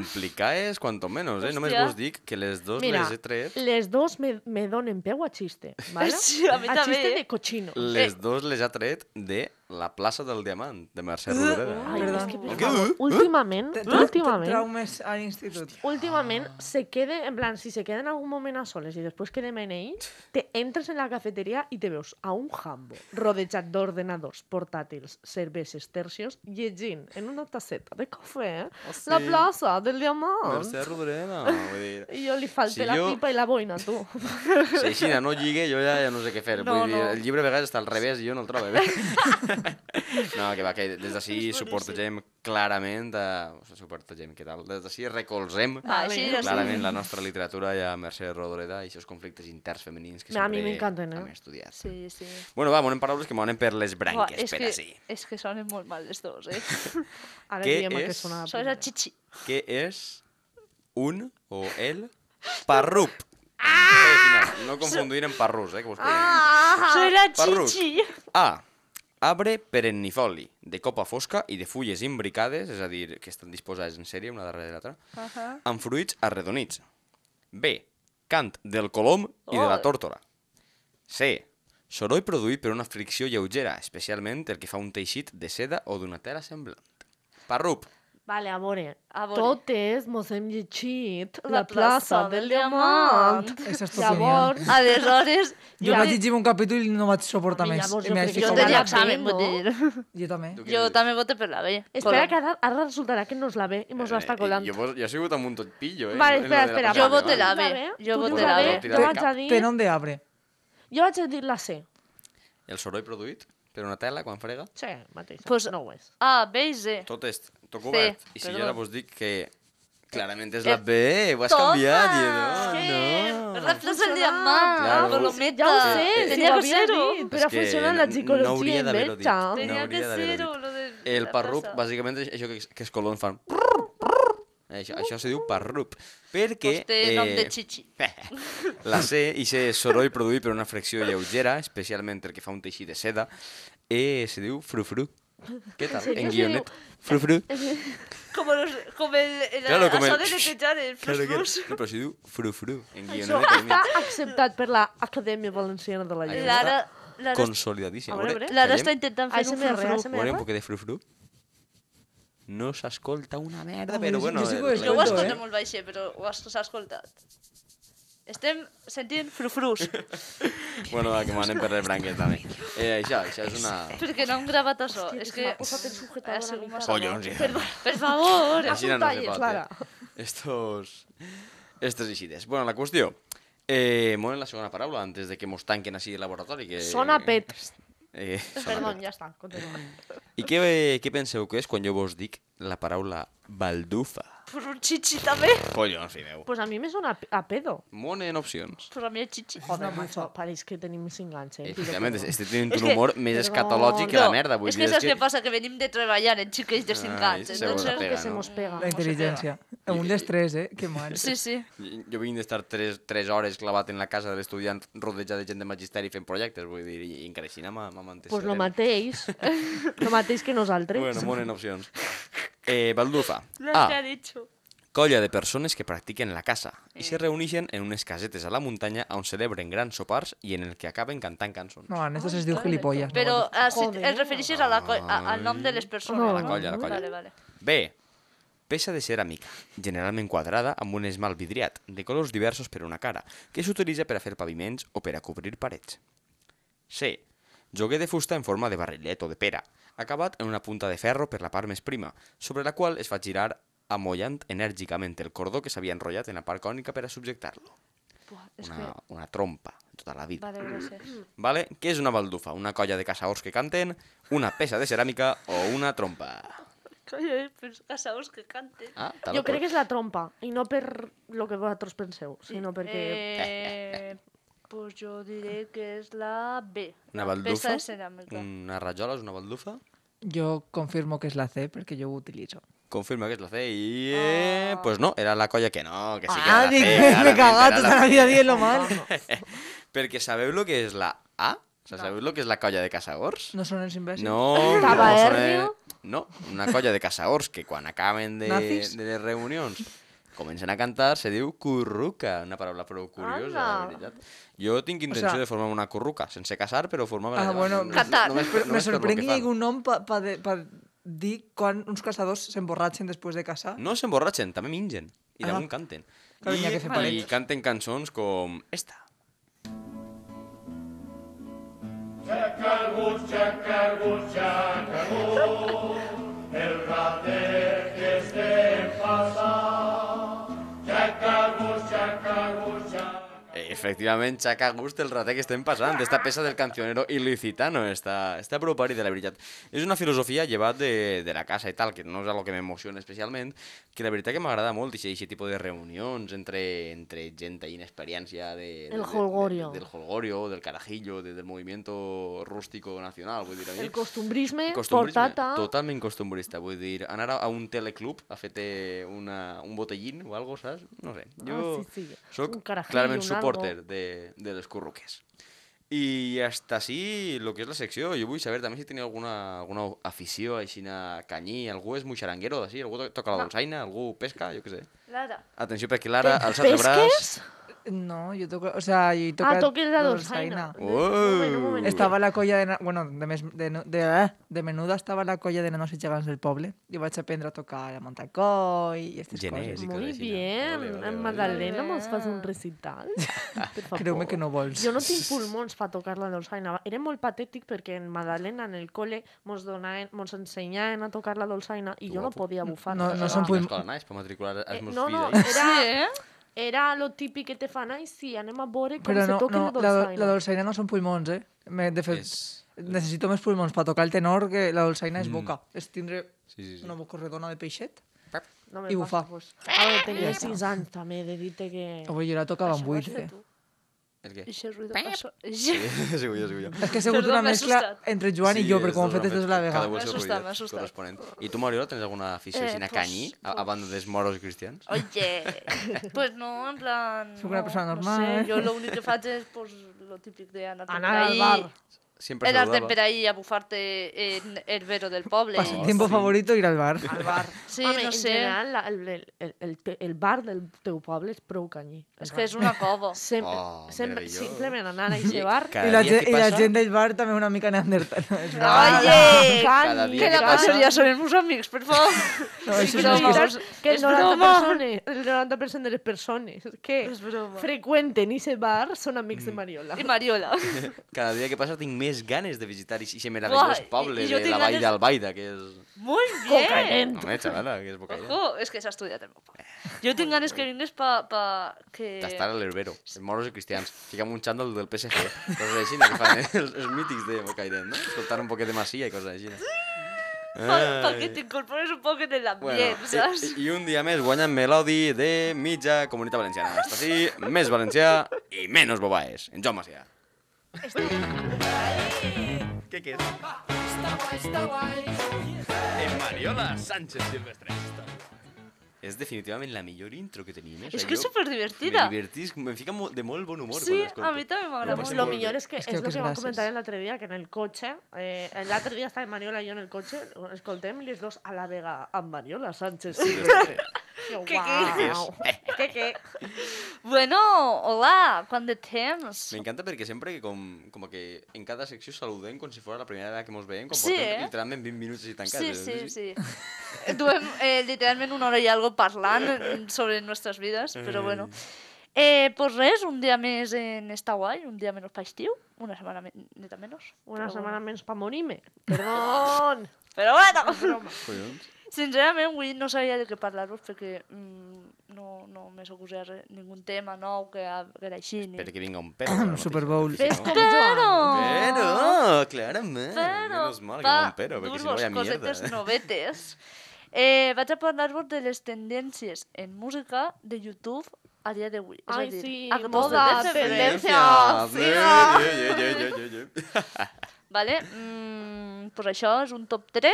Speaker 4: complicades, cuanto menos, eh? Només
Speaker 5: Hòstia.
Speaker 4: vos dic que les dos
Speaker 1: Mira,
Speaker 4: les he tret,
Speaker 1: les dos me, me donen peu a chiste, ¿vale?
Speaker 5: Sí, a mi també,
Speaker 1: chiste
Speaker 5: eh.
Speaker 1: de cochino.
Speaker 4: les dos les ha tret de La plaça del Diamant, de Mercè
Speaker 1: Ay,
Speaker 4: Rodoreda. eh?
Speaker 1: es
Speaker 3: Perdón.
Speaker 1: que, por
Speaker 4: ¿Qué?
Speaker 1: favor, últimament,
Speaker 5: ¿Eh?
Speaker 1: últimament,
Speaker 3: Traumes al instituto.
Speaker 1: últimament
Speaker 4: Ah.
Speaker 1: se quede, en plan, si se queda en algun moment a soles i després quedem en ell, te entres en la cafeteria i te veus a un jambo rodejat d'ordenadors, portàtils, cerveses, tercios, llegint en una tasseta de cafè
Speaker 4: Oh, sí.
Speaker 1: la plaça del diamant.
Speaker 4: Mercè Rodoreda, vull dir...
Speaker 1: I jo li falté
Speaker 4: Si
Speaker 1: la
Speaker 4: jo-
Speaker 1: pipa i la boina, tu.
Speaker 4: Si aixina no lligue, jo ja, ja no sé què fer.
Speaker 5: No,
Speaker 4: Vull dir,
Speaker 5: no.
Speaker 4: el llibre a vegades està al revés i jo no el trobo bé. no, que va, que des d'ací suportegem clarament... A... O sigui, suportegem, què tal? Des d'ací recolzem
Speaker 1: Ah,
Speaker 5: Va, així ja Ah, sí.
Speaker 4: clarament la nostra literatura i a Mercè Rodoreda i els conflictes interns femenins que
Speaker 1: A mi
Speaker 4: sempre
Speaker 1: m'encanten, eh?
Speaker 4: hem estudiat.
Speaker 5: Sí, sí.
Speaker 4: Bueno, va, anem paraules que m'anem per les
Speaker 5: Buah,
Speaker 4: branques,
Speaker 5: és,
Speaker 4: per
Speaker 5: que,
Speaker 4: així.
Speaker 5: és que sonen molt mal les dos, eh?
Speaker 1: Ara
Speaker 4: Què
Speaker 1: diem a que
Speaker 4: és?
Speaker 1: sona la
Speaker 5: Sonen
Speaker 1: primera.
Speaker 5: a xixi.
Speaker 4: Què és un o el parrup? Ah! No confundir amb parrus, eh, que vos ah!
Speaker 5: Sonen a
Speaker 4: Parrut.
Speaker 5: xixi.
Speaker 4: A. Arbre perennifoli, de copa fosca i de fulles imbricades, és a dir, que estan disposades en sèrie una darrere l'altra, uh -huh. amb fruits arredonits. B. Cant del colom i de la
Speaker 5: Oh.
Speaker 4: tórtora. C. Soroll produït per una fricció lleugera, especialment el que fa un teixit de seda o d'una tela semblant. Parrup.
Speaker 1: Vale, a veure,
Speaker 5: A veure.
Speaker 1: totes mos hem llegit la,
Speaker 5: La
Speaker 1: plaça
Speaker 5: plaça
Speaker 1: del
Speaker 5: del
Speaker 1: diamant.
Speaker 5: diamant.
Speaker 3: Esa es tu
Speaker 1: Llavors,
Speaker 5: Aleshores,
Speaker 3: Jo vaig llegir un capítol i no vaig suportar
Speaker 1: A mi
Speaker 3: més.
Speaker 1: llavors
Speaker 3: I
Speaker 1: jo
Speaker 3: m'hi
Speaker 1: crec
Speaker 3: vaig
Speaker 1: que
Speaker 5: jo
Speaker 1: com
Speaker 3: ficar
Speaker 5: tenia
Speaker 1: la
Speaker 3: mal.
Speaker 1: B,
Speaker 5: examen,
Speaker 1: no?
Speaker 5: vull
Speaker 3: Jo
Speaker 5: dir.
Speaker 3: també.
Speaker 4: Tu què
Speaker 5: Jo
Speaker 4: dius?
Speaker 5: també voto per la B.
Speaker 1: espera que ara, ara resultarà que nos la ve i mos
Speaker 4: Eh,
Speaker 1: l'està colant.
Speaker 4: Jo, vos- jo he sigut amb un tot pillo, eh?
Speaker 1: Vale,
Speaker 4: en lo de
Speaker 1: espera,
Speaker 4: la
Speaker 1: espera.
Speaker 4: plaça
Speaker 5: Jo
Speaker 4: del
Speaker 5: voto la
Speaker 4: Diamant.
Speaker 5: B. Jo
Speaker 1: tu
Speaker 5: voto
Speaker 1: dius
Speaker 5: la
Speaker 1: B,
Speaker 5: B.
Speaker 1: jo vaig a dir...
Speaker 3: Penom de arbre.
Speaker 1: Jo vaig a dir la C.
Speaker 4: El soroll produït per una tela quan frega.
Speaker 1: Sí, mateix.
Speaker 5: Pues-
Speaker 1: no ho és.
Speaker 5: A, Ah, B i C.
Speaker 4: Tot és tot
Speaker 5: Sí,
Speaker 4: cobert. I si jo
Speaker 5: perdó.
Speaker 4: ara vos dic que clarament és la B, ho has
Speaker 5: Toma!
Speaker 4: canviat. I no,
Speaker 5: Sí,
Speaker 4: no.
Speaker 5: la plaça del diamant,
Speaker 4: Claro.
Speaker 5: claro. colometa.
Speaker 1: Ja ho sé,
Speaker 4: Eh, eh,
Speaker 1: si
Speaker 5: Tenia
Speaker 1: ho
Speaker 5: que
Speaker 1: havia
Speaker 5: ser-ho.
Speaker 1: dit, però
Speaker 4: És que
Speaker 1: funciona
Speaker 4: no-
Speaker 1: la
Speaker 4: no
Speaker 1: psicologia
Speaker 4: hauria d'haver-ho dit.
Speaker 1: inversa.
Speaker 4: No
Speaker 5: Tenia que
Speaker 4: hauria d'haver-ho
Speaker 5: ser-ho,
Speaker 4: dit.
Speaker 5: lo de
Speaker 4: El
Speaker 5: la
Speaker 4: parrup,
Speaker 5: plaça.
Speaker 4: bàsicament, és això que, que els colons fan... Eh, Això, això se diu parrup. Perquè... eh,
Speaker 5: Pues té nom de xixi.
Speaker 4: La C, i se soroll produït per una fricció lleugera, especialment el que fa un teixit de seda, eh, se diu frufru. Què tal?
Speaker 1: sèrio
Speaker 4: En
Speaker 1: se
Speaker 4: guionet. Frufru.
Speaker 5: Com, los, com el, el,
Speaker 4: Claro, com
Speaker 5: això
Speaker 4: el-
Speaker 5: de netejar el
Speaker 4: Claro que...
Speaker 5: flus-flus.
Speaker 4: No, però se diu frufru. En
Speaker 1: Això
Speaker 4: guionet.
Speaker 1: està acceptat per l'Acadèmia Valenciana de la
Speaker 4: Ai,
Speaker 1: Llengua.
Speaker 5: Lara, Lara,
Speaker 4: Consolidadíssim.
Speaker 1: A veure, a veure.
Speaker 5: Lara està intentant fer un
Speaker 1: ASMR,
Speaker 5: flus-flus.
Speaker 1: ASMR.
Speaker 4: Veurem un poc de frufru. No s'escolta una merda,
Speaker 3: Ah,
Speaker 4: però
Speaker 3: jo-
Speaker 4: bueno...
Speaker 3: jo sí que ho
Speaker 4: el-
Speaker 5: Jo ho
Speaker 3: Escolto,
Speaker 5: escolto
Speaker 3: eh?
Speaker 5: molt baixet, però ho has, s'ha escoltat. Estem sentint frufrus,
Speaker 4: Bueno, va, que m'anem per les branques també. Eh, això, això és una...
Speaker 5: perquè no hem gravat això. És que...
Speaker 1: Posa't el
Speaker 5: Ha
Speaker 1: sujetador una
Speaker 5: sigut
Speaker 1: mica.
Speaker 5: massa
Speaker 4: Collons, ja.
Speaker 5: Per, per favor!
Speaker 4: Així no, no se
Speaker 1: talles,
Speaker 4: pot,
Speaker 1: Lara.
Speaker 4: eh? Estos... Estes eixides. Bueno, la qüestió... Eh, molt en la segona paraula, antes de que mos tanquen així el laboratori. Que...
Speaker 1: Sona pet.
Speaker 4: Eh, sona
Speaker 1: Perdó,
Speaker 4: pet.
Speaker 1: ja està, continua.
Speaker 4: I què, eh, què penseu que és quan jo vos dic la paraula baldufa?
Speaker 5: Per un xixi també.
Speaker 4: Collons, fi meu.
Speaker 1: Pues a mi me sona a, a pedo.
Speaker 4: Món en opcions.
Speaker 5: Però a mi el xixi.
Speaker 1: Joder, macho, pareix que tenim 5 anys, eh?
Speaker 4: Efectivament,
Speaker 1: Tiro,
Speaker 4: este té
Speaker 5: És
Speaker 4: un
Speaker 5: que-
Speaker 4: humor més
Speaker 1: Perdó.
Speaker 4: escatològic que la merda. Vull
Speaker 5: Oh, és que
Speaker 4: dir,
Speaker 5: saps què passa? Que venim de treballar en xiquets de 5
Speaker 4: Ah, és
Speaker 5: anys.
Speaker 1: però-
Speaker 4: segona
Speaker 5: Entonces,
Speaker 4: pega.
Speaker 1: que se mos pega.
Speaker 3: La intel·ligència. Un dels tres, eh? Que mal.
Speaker 5: sí, sí.
Speaker 4: Jo- Jo vinc d'estar 3, 3 hores clavat en la casa de l'estudiant rodejat de gent de magisteri fent projectes, vull dir, i encara així m'ha m'ha mantès.
Speaker 1: Pues lo
Speaker 4: sereno.
Speaker 1: mateix. lo mateix que nosaltres.
Speaker 4: Bueno, molt en opcions. Eh, baldufa.
Speaker 5: Lo que ha
Speaker 4: A.
Speaker 5: dicho. Eh.
Speaker 4: colla de persones que practiquen la caça i se reuneixen en unes casetes a la muntanya on celebren grans sopars i en el que acaben cantant cançons.
Speaker 3: No, en estos es diu gilipollas.
Speaker 5: Però
Speaker 3: No,
Speaker 5: eh, si et refereixes a la co- a, al nom de les persones.
Speaker 4: A la colla, a la colla.
Speaker 5: Vale, vale.
Speaker 4: B. Peça de ceràmica, generalment quadrada amb un esmalt vidriat, de colors diversos per una cara, que s'utilitza per a fer paviments o per a cobrir parets. C. Joguer de fusta en forma de barrilet o de pera, acabat en una punta de ferro per la part més prima, sobre la qual es fa girar amollant enèrgicament el cordó que s'havia enrotllat en la part cònica per a subjectar-lo.
Speaker 5: Buah, és
Speaker 4: Una, una trompa, tota la
Speaker 5: que...
Speaker 4: vida.
Speaker 5: Vale, gràcies.
Speaker 4: Vale? Què és una baldufa? Una colla de caçaors que canten, una peça de ceràmica o una trompa?
Speaker 5: Colla, eh? Però casaos que canten.
Speaker 4: Ah, te
Speaker 1: Jo
Speaker 4: lo
Speaker 1: crec que és la trompa, i no per lo que vosaltres penseu, sinó perquè...
Speaker 5: Eh, pues jo diré que és la B.
Speaker 4: Una
Speaker 5: la
Speaker 4: baldufa?
Speaker 5: peça de ceràmica.
Speaker 4: Una rajola és una baldufa?
Speaker 3: Yo confirmo que es la C porque yo utilizo.
Speaker 4: Confirma que és la C i... Eh, pues no, era la colla que no, que sí que
Speaker 3: Oh.
Speaker 4: era
Speaker 3: ah,
Speaker 4: la
Speaker 3: ni-
Speaker 4: C.
Speaker 3: me he
Speaker 4: clarament,
Speaker 3: cagado
Speaker 4: era
Speaker 3: toda la vida dient lo mal.
Speaker 4: Perquè sabeu lo que és la A? O sea, sabeu lo que és la colla de caçadors?
Speaker 3: No son els imbècils.
Speaker 4: No, no,
Speaker 1: Tabaernio?
Speaker 4: són, eh, no, una colla de caçadors que quan acaben de,
Speaker 3: Nazis?
Speaker 4: de les reunions comencen a cantar, se diu curruca, una paraula prou curiosa, la
Speaker 1: Anda.
Speaker 4: veritat. Jo tinc intenció
Speaker 3: sea-
Speaker 4: de formar una curruca, sense casar, però formar-me
Speaker 3: Ah, bueno,
Speaker 5: Cantar.
Speaker 4: només, per-
Speaker 3: Però me
Speaker 4: només per lo
Speaker 3: sorprèn que hi
Speaker 4: fan.
Speaker 3: hagi un nom per pa, de- pa dir quan uns caçadors s'emborratxen després de caçar.
Speaker 4: No s'emborratxen, també mingen. I
Speaker 3: Ah.
Speaker 4: damunt canten.
Speaker 3: Clar, n'hi ha que fer
Speaker 4: I, I
Speaker 3: parets.
Speaker 4: canten cançons com esta. Efectivament, xaca gust el rater que estem passant d'esta peça del cancionero il·licitano, està, està prou pari de la veritat. És una filosofia llevat de, de la casa i tal, que no és el que m'emociona especialment, que la veritat que m'agrada molt aquest tipus de reunions entre, entre gent ahí inexperiència de, de,
Speaker 1: El
Speaker 4: de-
Speaker 1: jolgorio.
Speaker 4: de- del holgorio, del carajillo, de, del movimiento rústico nacional, vull dir a mi.
Speaker 1: El costumbrisme,
Speaker 4: Costumbrisme,
Speaker 1: portat a...
Speaker 4: Totalment costumbrista, vull dir, anar a, a un teleclub a fer-te una- un botellín o algo, saps? No sé. Jo
Speaker 1: Ah, sí, sí.
Speaker 4: soc
Speaker 1: Un carajillo,
Speaker 4: clarament
Speaker 1: un
Speaker 4: supporter de, de les curruques. I hasta així, lo que és la secció, jo vull saber també si teniu alguna, alguna afició així a canyí, algú és molt xaranguero d'ací, algú to- toca la dolçaina, algú pesca, jo què sé.
Speaker 5: Lara.
Speaker 4: Atenció, perquè l'ara
Speaker 1: Tens
Speaker 4: alça el braç...
Speaker 1: pesques?
Speaker 3: No, jo toco... O sea, jo he
Speaker 1: Ah,
Speaker 3: tocat...
Speaker 1: toques la dolçaina.
Speaker 3: dolçaina.
Speaker 1: Un moment, un moment.
Speaker 3: Estava la colla de... na- Bueno, de, més, de, no- de, ah, de menuda estava la colla de nanos i gegants del poble. I vaig aprendre a tocar la mantacoll i aquestes
Speaker 4: Genèric.
Speaker 3: coses.
Speaker 4: Música
Speaker 1: Muy
Speaker 4: de China.
Speaker 1: bien.
Speaker 4: Ole, ole, ole.
Speaker 1: Magdalena, mos fas un recital? Per favor.
Speaker 3: Creu-me que no vols.
Speaker 1: Jo no tinc pulmons per tocar la dolçaina. Era molt patètic perquè en Magdalena, en el col·le, mos, donaven, mos ensenyaven a tocar la dolçaina i jo no
Speaker 4: Guapo.
Speaker 1: podia bufar.
Speaker 3: No,
Speaker 1: Ah.
Speaker 3: no són
Speaker 4: Quina
Speaker 3: pulmons.
Speaker 4: escola naix per matricular els
Speaker 1: Eh,
Speaker 4: meus
Speaker 1: no,
Speaker 4: fills
Speaker 1: no,
Speaker 4: ahí?
Speaker 1: era, era lo típic que te fan, ai, sí, anem a veure com
Speaker 3: Però
Speaker 1: se
Speaker 3: no,
Speaker 1: toca
Speaker 3: no,
Speaker 1: la
Speaker 3: la,
Speaker 1: dolçaina.
Speaker 3: do- la dolçaina no són pulmons, eh? Me- De fet,
Speaker 4: És- eh, Mm.
Speaker 3: necessito més pulmons per tocar el tenor que la dolçaina és boca. És tindre
Speaker 4: Sí, sí, sí.
Speaker 3: una boca redona de peixet.
Speaker 1: No me
Speaker 3: i
Speaker 1: passa,
Speaker 3: bufar.
Speaker 1: Pues. A veure, tenia 6 anys també, de dir-te que...
Speaker 3: Avui jo la tocava amb buit, eh?
Speaker 4: El què?
Speaker 5: I aquest ruido passó. Sí.
Speaker 4: Sigo jo, sigo jo.
Speaker 3: És que ha sigut
Speaker 5: Perdó,
Speaker 3: una
Speaker 5: m'he
Speaker 3: mescla
Speaker 5: assustat.
Speaker 3: entre Joan i jo, però com ho
Speaker 4: és
Speaker 3: hem fet
Speaker 4: dos,
Speaker 3: des de la
Speaker 4: Cada
Speaker 3: vegada.
Speaker 4: un el seu
Speaker 5: M'ha assustat,
Speaker 4: rotllet
Speaker 5: m'ha assustat.
Speaker 4: corresponent. I tu, Mariola, tens alguna afició
Speaker 5: Eh,
Speaker 4: eh, a
Speaker 5: pues-
Speaker 4: canyi, a, a banda dels moros i cristians?
Speaker 5: Oye, pues no, en plan...
Speaker 3: Sóc una
Speaker 5: no,
Speaker 3: persona
Speaker 5: No sé,
Speaker 3: normal.
Speaker 5: jo l'únic que faig és pues, lo típic d'anar
Speaker 1: Anar al bar.
Speaker 4: Sempre
Speaker 5: Anar de
Speaker 4: saludava.
Speaker 5: per ahí a bufar-te en el vero del poble.
Speaker 3: Passa el
Speaker 4: Oh,
Speaker 3: tiempo favorito ir al bar.
Speaker 1: Al bar.
Speaker 5: Sí,
Speaker 1: Home,
Speaker 5: no
Speaker 1: en
Speaker 5: sé.
Speaker 1: general, la, el, el, el, el, te- el bar del teu poble és prou canyí.
Speaker 5: És que és una cova.
Speaker 1: Sem
Speaker 4: Oh,
Speaker 1: sem
Speaker 4: meravellós.
Speaker 1: simplement anar a aquest bar...
Speaker 4: Cada
Speaker 3: I la,
Speaker 4: dia
Speaker 3: gent,
Speaker 4: que
Speaker 3: I la
Speaker 4: passa-
Speaker 3: gent del bar també una mica neandertal. No, és broma.
Speaker 4: Cada
Speaker 5: Oye,
Speaker 1: cani,
Speaker 4: dia
Speaker 5: que la
Speaker 4: que passa-
Speaker 5: majoria són els meus amics, per favor.
Speaker 3: no,
Speaker 5: sí,
Speaker 3: això
Speaker 5: però
Speaker 3: no,
Speaker 5: vamos,
Speaker 3: és
Speaker 1: Veritat
Speaker 5: és-
Speaker 1: que el
Speaker 5: és
Speaker 1: 90%,
Speaker 5: broma.
Speaker 1: persones, el 90 de les persones que
Speaker 5: És broma.
Speaker 1: freqüenten aquest bar són amics de
Speaker 4: Mm.
Speaker 1: Mariola.
Speaker 5: I Mariola.
Speaker 4: Cada dia que passa tinc més ganes de visitar i ser meravellós
Speaker 5: Buah, i-
Speaker 4: poble
Speaker 5: i jo
Speaker 4: de
Speaker 5: tinc
Speaker 4: la vall
Speaker 5: ganes-
Speaker 4: d'Albaida, que és...
Speaker 5: Molt bé.
Speaker 1: Calent.
Speaker 4: Home, xavala, que és boca allà.
Speaker 5: Ojo, és que s'ha estudiat el meu pare. Jo tinc ganes que vinguis pa... pa que...
Speaker 4: Tastar a l'herbero, els moros i cristians. Fica'm un xandall del PSG. Coses així, no, que fan eh, els, els mítics de Bocairet, no? Escoltar un poquet de Masia i coses així.
Speaker 5: Pa, pa que t'incorpores un poc en l'ambient,
Speaker 4: Bueno, eh,
Speaker 5: saps?
Speaker 4: i, i un dia més guanyen Melodi de mitja comunitat valenciana. Està així, més valencià i menys bobaes. En Joan Macià. Què què és? En Mariola Sánchez Silvestre. És definitivament la millor intro que tenim. Eh? O
Speaker 5: És
Speaker 4: sea,
Speaker 5: que és
Speaker 4: jo
Speaker 5: superdivertida.
Speaker 4: Me divertís, me fica mo- de molt bon humor.
Speaker 5: Sí,
Speaker 4: quan l'escolto.
Speaker 5: a mi també m'agrada
Speaker 4: Ho passo
Speaker 1: Lo
Speaker 4: molt bé.
Speaker 1: millor es que
Speaker 3: Es
Speaker 1: es,
Speaker 3: que
Speaker 1: lo
Speaker 3: creo que
Speaker 1: que
Speaker 3: es
Speaker 1: van a
Speaker 3: gracias.
Speaker 1: comentar el otro día, que en el coche, eh, el otro día estaba Mariola y yo en el coche, escoltem les dos a la vega amb Mariola Sánchez. Sí, Yo,
Speaker 5: ¿Qué
Speaker 1: guau. ¿Qué, qué?
Speaker 5: Bueno, hola, quant de temps?
Speaker 4: M'encanta perquè sempre que com, com que en cada secció saludem com si fos la primera vegada que mos veiem, com
Speaker 5: Sí,
Speaker 4: portem
Speaker 5: eh?
Speaker 4: literalment 20 minuts així tancats.
Speaker 5: Sí,
Speaker 4: eh?
Speaker 5: sí, sí. Duem eh, literalment una hora i algo parlant eh, sobre nostres vides, però bueno. Eh, pues res, un dia més en Està Guai, un dia menys pa estiu, una setmana me- neta menys.
Speaker 1: Una semana menos para morirme. Perdón.
Speaker 5: Però bueno! Sincerament, avui no sabia de què parlar-vos perquè mm, no, no me s'ocorria res, ningun tema nou que, ha- que era així. Ni...
Speaker 4: Espera que vinga un pet. ara mateix,
Speaker 3: Super Bowl.
Speaker 4: perquè si no-
Speaker 5: Però...
Speaker 4: Pero, claramente.
Speaker 5: Pero,
Speaker 4: Eh, Menos
Speaker 5: este
Speaker 4: mal que
Speaker 5: va,
Speaker 4: no un pero, porque si no
Speaker 5: dur-vos
Speaker 4: vaya mierda.
Speaker 5: cosetes novetes. Eh, vaig a parlar-vos de les tendències en música de YouTube a dia d'avui. És
Speaker 1: Ai,
Speaker 5: a dir,
Speaker 1: sí,
Speaker 5: a
Speaker 1: moda,
Speaker 5: de febrer.
Speaker 1: tendencia.
Speaker 4: Eh, eh, eh, eh, eh, eh.
Speaker 5: Vale? Mm, pues això és un top 3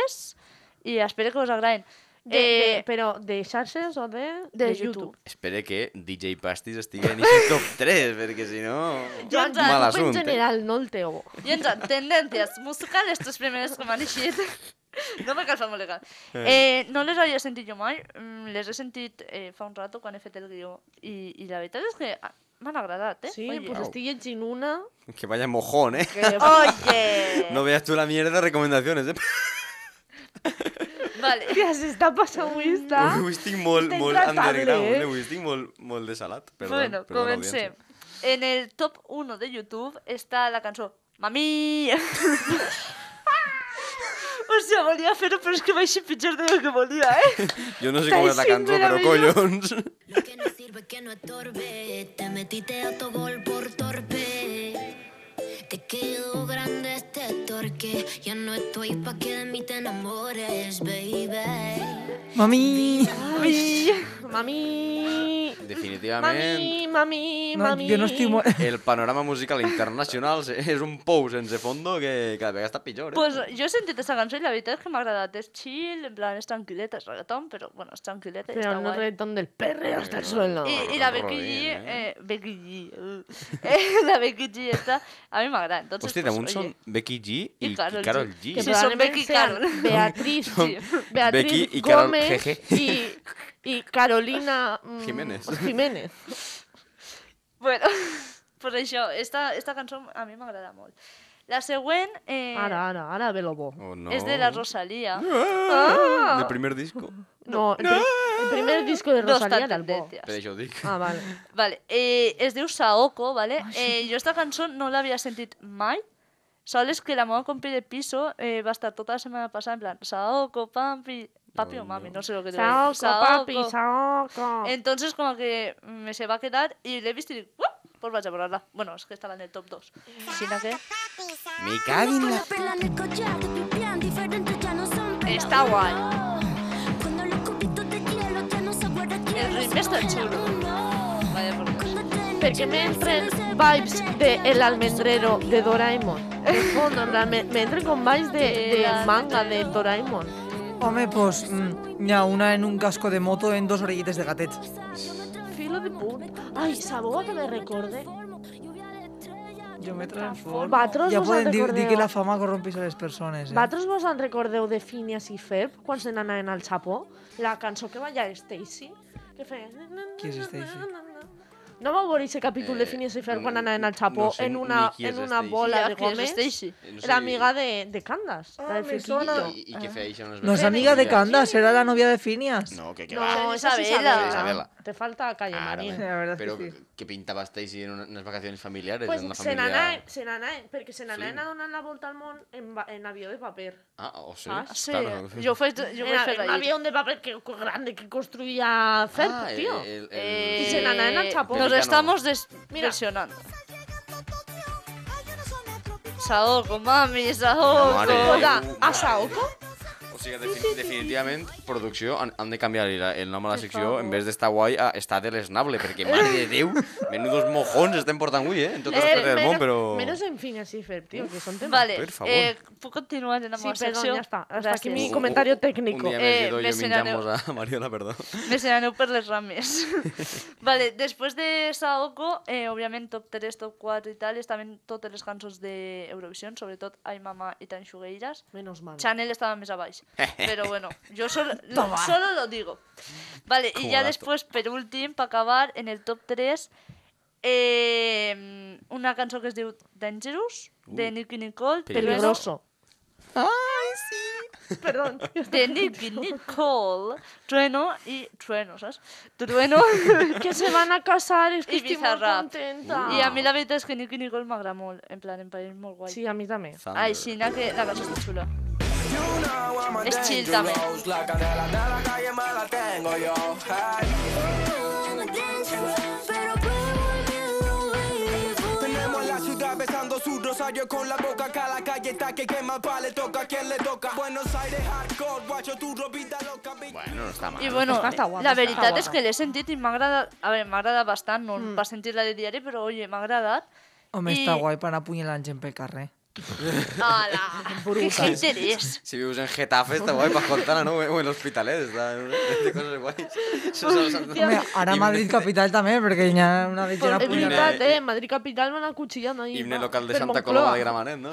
Speaker 5: i espero que us agradin.
Speaker 1: De- de-
Speaker 5: Eh,
Speaker 1: pero de Charles o de,
Speaker 5: de YouTube.
Speaker 4: Espere que DJ Pastis estigui en aquest top 3, perquè si no...
Speaker 5: Jo ens
Speaker 1: Grupo
Speaker 4: Mal
Speaker 1: en
Speaker 4: assumpte.
Speaker 1: general, no el teo.
Speaker 5: I ens tendències musicals, estos primers que m'han eixit. No me cal fer molt legal. Eh, no les havia sentit jo mai, mm, les he sentit eh, fa un rato quan he fet el guió i, i la veritat és que ah, m'han agradat, eh?
Speaker 1: Sí,
Speaker 5: Oye.
Speaker 1: pues estoy en una.
Speaker 4: Que vaya mojón, eh.
Speaker 1: que-
Speaker 5: Oye.
Speaker 4: No veas tú la mierda de recomendaciones, eh.
Speaker 5: Vale.
Speaker 1: Hòstia, s'està passant avui, està...
Speaker 4: Avui estic molt,
Speaker 1: Està
Speaker 4: molt
Speaker 1: intratable,
Speaker 4: underground,
Speaker 1: eh?
Speaker 4: eh? Avui estic molt, molt desalat. Perdó,
Speaker 5: bueno,
Speaker 4: perdó,
Speaker 5: comencem. En el top 1 de YouTube està la cançó Mami! Hòstia, volia fer-ho, però és que vaig pitjor del que volia, eh?
Speaker 4: Jo no sé com és la
Speaker 5: Estáis
Speaker 4: cançó, però collons.
Speaker 8: Lo que no sirve que no estorbe. Te metiste autogol por torpe. Te quedó grande este torque. Ya no estoy pa' que de mí te enamores, baby.
Speaker 3: Mami.
Speaker 1: Mami, mami,
Speaker 4: Definitivament,
Speaker 1: mami, mami,
Speaker 3: No,
Speaker 1: mami.
Speaker 3: yo no estoy muerta.
Speaker 4: el panorama musical internacional és un pou sense fondo que cada vegada està pitjor, eh.
Speaker 5: Pues jo he sentit aquesta cançó i la veritat és que m'ha agradat. És chill, en plan, és tranquil·leta, és reggaeton, però bueno, és tranquil·leta i
Speaker 1: Pero
Speaker 5: està
Speaker 1: no
Speaker 5: guai.
Speaker 1: reggaetón del perreo hasta el suelo.
Speaker 5: I, i la Becky G,
Speaker 4: Rodríguez, eh?
Speaker 5: eh, Becky G, uh, eh, la Becky G esta, a mi m'agrada. Entonces,
Speaker 4: Hòstia,
Speaker 5: pues,
Speaker 4: damunt
Speaker 5: oye,
Speaker 4: són Becky G i,
Speaker 5: I
Speaker 4: i
Speaker 5: Karol
Speaker 4: Karol
Speaker 5: G.
Speaker 4: G.
Speaker 1: Que
Speaker 5: Sí, son
Speaker 1: probablemente
Speaker 5: Becky
Speaker 1: sean
Speaker 5: Carol.
Speaker 1: Beatriz,
Speaker 4: Son
Speaker 1: Beatriz
Speaker 4: Becky y Carol
Speaker 1: Gómez
Speaker 4: GG.
Speaker 1: y, y Carolina mm,
Speaker 4: Jiménez.
Speaker 1: Jiménez.
Speaker 5: Bueno, pues això, esta, esta cançó a mi m'agrada molt. La següent eh,
Speaker 1: Ara, ara, ara, ve lobo.
Speaker 4: Oh, no.
Speaker 5: és de la Rosalía.
Speaker 4: Ah! Del primer disco.
Speaker 1: No, el, pri- el primer disco de
Speaker 5: Dos
Speaker 1: Rosalía era el bo.
Speaker 5: tendències.
Speaker 4: Per això ho dic.
Speaker 1: Ah, vale.
Speaker 5: Vale, eh, es diu Saoko, vale? Eh, jo esta cançó no l'havia sentit mai, sols que la meva compi de piso eh, va estar tota la setmana passada en plan Saoko, papi, papi o mami, no sé lo que diu.
Speaker 1: Saoko, papi, saoko.
Speaker 5: Entonces como que me se va a quedar y le he visto y dic, "Uah, pues vaig a borrar-la. Bueno, és que estava en el top 2. Si no que...
Speaker 4: Me cagui en
Speaker 8: Con
Speaker 4: la...
Speaker 8: la perla en el collar, te pipián, diferentes ya no son pero
Speaker 5: Está guay.
Speaker 8: uno. Cuando los cubitos de hielo ya no se guarda hielo,
Speaker 5: El ritme
Speaker 8: se
Speaker 5: està
Speaker 8: congela
Speaker 5: xulo.
Speaker 8: uno.
Speaker 5: Vaya por Dios.
Speaker 8: Cuando te
Speaker 1: Porque me
Speaker 8: enchinas,
Speaker 1: entren
Speaker 8: se les
Speaker 1: vibes de
Speaker 8: derrite
Speaker 1: El
Speaker 8: la
Speaker 1: Almendrero de Doraemon. De fondo, en plan, me, me entren con vibes de, de manga de Doraemon.
Speaker 3: Home, pues, mm, hi ha una en un casco de moto en dos orellitas de gatet.
Speaker 1: Filo de put. Ay, Saboa que me recorde.
Speaker 3: Jo me transformo.
Speaker 1: Vosaltres
Speaker 3: ja
Speaker 1: vos
Speaker 3: poden dir,
Speaker 1: recordeu-
Speaker 3: dir que la fama corrompis a les persones, eh?
Speaker 1: Vosaltres vos en recordeu de Phineas i Ferb quan se n'anaven al Japó? La cançó que balla Stacy? Que feia...
Speaker 3: Qui és Stacy?
Speaker 1: No vau veure aquest capítol de
Speaker 4: Eh,
Speaker 1: Phineas i Ferb
Speaker 4: no-
Speaker 1: quan anaven al
Speaker 4: no
Speaker 1: Japó
Speaker 4: sé
Speaker 1: en
Speaker 4: ni
Speaker 1: una,
Speaker 4: qui és
Speaker 1: en una
Speaker 4: Stacy.
Speaker 1: bola
Speaker 5: Ja,
Speaker 1: de
Speaker 5: qui és
Speaker 1: Gómez?
Speaker 5: Stacy? Ah,
Speaker 4: Eh, no sé
Speaker 1: Era
Speaker 4: ni-
Speaker 1: amiga de, de Candas, la de
Speaker 3: me
Speaker 1: Fekito.
Speaker 3: sona.
Speaker 4: I, i què feia això? No,
Speaker 3: No és amiga de Canda, serà la novia de Phineas.
Speaker 4: No, que, que va.
Speaker 1: No,
Speaker 5: va.
Speaker 1: esa es
Speaker 5: Ah, Isabela.
Speaker 1: Isabela.
Speaker 4: Isabela.
Speaker 1: Te falta calle,
Speaker 4: Ara,
Speaker 1: Marín.
Speaker 4: vale.
Speaker 3: La verdad es que
Speaker 4: Però
Speaker 3: sí.
Speaker 4: que pintava Stacy en una- unes vacaciones familiares?
Speaker 1: Pues
Speaker 4: en una
Speaker 1: se
Speaker 4: família...
Speaker 1: n'anaven, se n'anaven, perquè se n'anaven
Speaker 4: Sí.
Speaker 1: a donar la volta al món en, va- en avió de paper.
Speaker 4: Ah, o sí?
Speaker 1: Ah,
Speaker 5: Sí,
Speaker 4: Claro.
Speaker 5: jo ho faig, jo ho
Speaker 1: Era
Speaker 5: vaig fer
Speaker 1: un
Speaker 5: ahir.
Speaker 1: avió de paper que, que grande que construía Ferb,
Speaker 4: Ah, el-
Speaker 1: tío.
Speaker 4: el- el-
Speaker 5: Eh,
Speaker 1: I se n'anaven al Japó.
Speaker 5: Nos
Speaker 4: Mexicano.
Speaker 5: estamos des
Speaker 1: Mira.
Speaker 5: depressionant. Saoko, mami, Saoko.
Speaker 4: Mare.
Speaker 1: Escolta,
Speaker 4: Eh,
Speaker 1: a Saoko?
Speaker 4: O sigui, defin definitivament, producció, han, han de canviar-li la- el nom a la secció, en vez d'estar guai, a estar deleznable, perquè, mare de Déu, menudos mojons estem portant avui, eh? En tot el
Speaker 5: Eh,
Speaker 4: eh, del món,
Speaker 1: menos,
Speaker 4: però...
Speaker 1: menos en fin así, Ferb, tío, que son temas.
Speaker 5: Vale,
Speaker 4: Per favor.
Speaker 5: eh, puc continuar en la
Speaker 1: Sí,
Speaker 5: meva
Speaker 1: perdón,
Speaker 5: secció?
Speaker 1: ja està. Hasta
Speaker 5: Gràcies.
Speaker 1: aquí mi- comentario técnico.
Speaker 4: Un dia
Speaker 5: Eh,
Speaker 4: més eh, jo
Speaker 5: mencionareu-
Speaker 4: menjant-vos a Mariola, perdó.
Speaker 5: Me seraneu per les rames. vale, després de Saoko, eh, òbviament top 3, top 4 i tal, estaven totes les cançons d'Eurovisió, sobretot Ai Mama i Tan Xugueiras.
Speaker 1: Menos mal.
Speaker 5: Chanel estava més a baix. Pero bueno, yo solo, lo-
Speaker 3: Toma.
Speaker 5: solo lo digo. Vale, y ya
Speaker 4: Jugadazo.
Speaker 5: después, per últim, para acabar, en el top 3, eh, una cançó que es diu Dangerous, de Nicky Nicole, però és-
Speaker 1: Peligroso.
Speaker 5: Perdón. De Nicky Nicole, Trueno y Trueno, ¿sabes? Trueno.
Speaker 1: que se van a casar, es que
Speaker 5: Y
Speaker 1: estoy muy
Speaker 5: Bizarrap.
Speaker 1: contenta.
Speaker 5: I a mi la veritat és que Nicky Nicole m'agrada molt, en plan, em pareix molt guai. Sí.
Speaker 1: Sí, a mí también.
Speaker 5: Ai, sí, na, que la cançó està xula. És chill també.
Speaker 9: La canela de la calle me la tengo yo. Ay,
Speaker 8: Pero pruebo el miedo, baby, for you.
Speaker 9: tenemos la ciudad besando su rosario con la boca. Cada calle está que quema pal, le toca a quien le toca. Buenos Aires, hardcore, guacho, tu ropita loca. bitch.
Speaker 4: Bueno, no está mal.
Speaker 5: I bueno,
Speaker 1: Està- està guapa,
Speaker 5: la
Speaker 1: està
Speaker 5: veritat és
Speaker 1: guapa.
Speaker 5: que l'he sentit i m'agrada... A veure, m'agrada bastant, no mm. per sentir-la de diari, però, oye, m'ha agradat.
Speaker 3: Home,
Speaker 5: I-
Speaker 3: està guai per anar apunyalant gent pel carrer.
Speaker 5: Hola! que hater és!
Speaker 4: Si vives en Getafe, está guay, para Fontana, ¿no? O en los Hospitalet, está. De cosas guays. Eso solo se hace-
Speaker 3: Home, ara a Madrid capital també, perquè hi ha una
Speaker 1: Es
Speaker 3: gent
Speaker 4: Himne-
Speaker 3: apunyalada.
Speaker 1: verdad, eh. Madrid Capital van acuchillando ahí.
Speaker 4: Himne
Speaker 1: va.
Speaker 4: local de
Speaker 1: Per
Speaker 4: Santa
Speaker 1: Moncloa.
Speaker 4: Coloma de Gramanet, ¿no?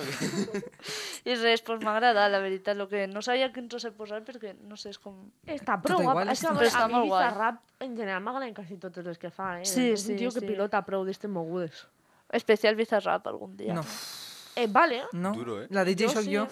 Speaker 5: I res, doncs m'agrada, la veritat, lo que no sabia quin tros posar perquè, no sé, és com...
Speaker 1: Està
Speaker 3: Tot
Speaker 1: prou guapa.
Speaker 3: igual,
Speaker 1: És que a
Speaker 5: està-
Speaker 1: veure,
Speaker 5: Està
Speaker 1: a mi
Speaker 5: molt guai.
Speaker 1: Bizarrap en general m'agraden quasi totes les que fa, eh?
Speaker 5: Sí,
Speaker 1: és
Speaker 5: sí,
Speaker 1: un tio que
Speaker 5: sí.
Speaker 1: pilota prou d'estes mogudes.
Speaker 5: Especial Bizarrap algun dia.
Speaker 3: No,
Speaker 1: Eh, vale.
Speaker 3: no.
Speaker 4: Duro, eh?
Speaker 3: La DJ
Speaker 1: Jo
Speaker 3: sóc
Speaker 1: sí.
Speaker 3: jo.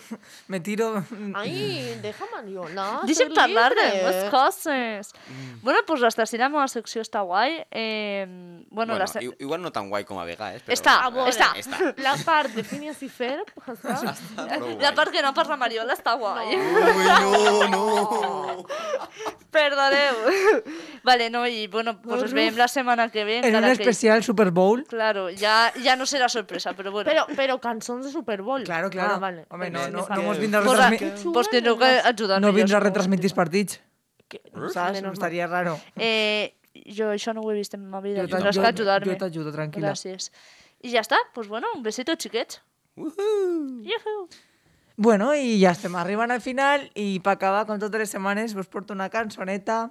Speaker 3: Me tiro...
Speaker 1: Ai,
Speaker 4: Mm.
Speaker 1: déjame Mariola.
Speaker 5: Deixa'm parlar Ah, de més coses.
Speaker 3: Mm.
Speaker 5: Bueno, pues hasta si la meva secció està guai. Eh, bueno,
Speaker 4: Bueno,
Speaker 5: la se...
Speaker 4: i- igual no tan guay como a Vega, ¿eh? Pero-
Speaker 5: Està,
Speaker 4: Ah, bueno,
Speaker 5: està.
Speaker 4: Está.
Speaker 1: La part de Phineas i Ferb, està?
Speaker 4: Está, pero
Speaker 5: La
Speaker 4: guay.
Speaker 5: part que no parla Mariola està guai.
Speaker 4: Uy, no, no.
Speaker 5: Perdoneu. vale, no, i bueno, pues ens veiem la setmana que ve.
Speaker 3: En un
Speaker 5: encara que...
Speaker 3: especial Super Bowl.
Speaker 5: Claro, ja, ja no serà sorpresa, però bueno.
Speaker 1: Però, però cançons de Super Bowl.
Speaker 3: Claro, claro.
Speaker 1: Ah, vale.
Speaker 3: Home, no,
Speaker 1: Vale, me
Speaker 3: no, no
Speaker 1: parece.
Speaker 3: mos vindrà a
Speaker 5: pues,
Speaker 3: retransmi-
Speaker 5: a... pues teniu que ajudar
Speaker 3: no vindrà a
Speaker 5: millors.
Speaker 3: retransmitir els partits.
Speaker 1: Que-
Speaker 3: Saps?
Speaker 1: menos mal.
Speaker 3: Estaria raro.
Speaker 5: Eh, jo això no ho he vist en ma vida,
Speaker 3: Jo t'aj-
Speaker 5: tindràs
Speaker 3: jo-
Speaker 5: que ajudar-me.
Speaker 3: jo t'ajudo, tranquil·la.
Speaker 5: Gràcies. I ja està, pues bueno, un besito, xiquets. Yuhu!
Speaker 3: Bueno, i ja estem arribant al final i per acabar, com totes les setmanes, vos porto una cançoneta.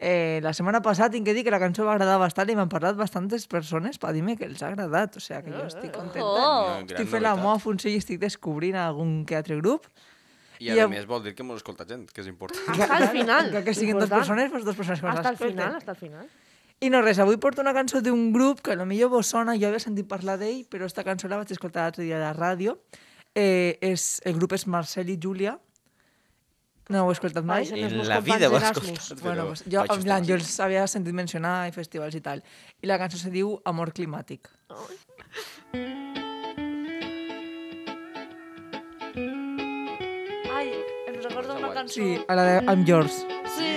Speaker 3: Eh, la setmana passada tinc que dir que la cançó va agradar bastant i m'han parlat bastantes persones per dir-me que els ha agradat, o sigui que jo
Speaker 1: Ah.
Speaker 3: estic contenta.
Speaker 5: Oh,
Speaker 4: Gran
Speaker 3: Estic fent la
Speaker 4: novetat.
Speaker 3: meva funció i estic descobrint algun que altre grup.
Speaker 4: I a
Speaker 3: I a-
Speaker 4: més vol dir que m'ho escolta gent, que és important.
Speaker 1: Hasta el final.
Speaker 3: Que, que siguin dues
Speaker 1: Important.
Speaker 3: persones, doncs dues persones que
Speaker 1: Hasta el
Speaker 3: l'escolten.
Speaker 1: final, hasta el final.
Speaker 3: I no res, avui porto una cançó d'un grup que a lo millor vos sona, jo havia sentit parlar d'ell, però esta cançó la vaig escoltar l'altre dia a la ràdio. Eh, és, el grup és Marcel i Júlia. No ho he escoltat mai?
Speaker 1: Ai, se En la vida vas costar,
Speaker 3: Bueno, pues, jo, en plan, jo els havia sentit mencionar i festivals i tal. I la cançó se diu Amor climàtic.
Speaker 5: ai, em recordo una cançó.
Speaker 3: Sí, a la de I'm Yours.
Speaker 5: sí.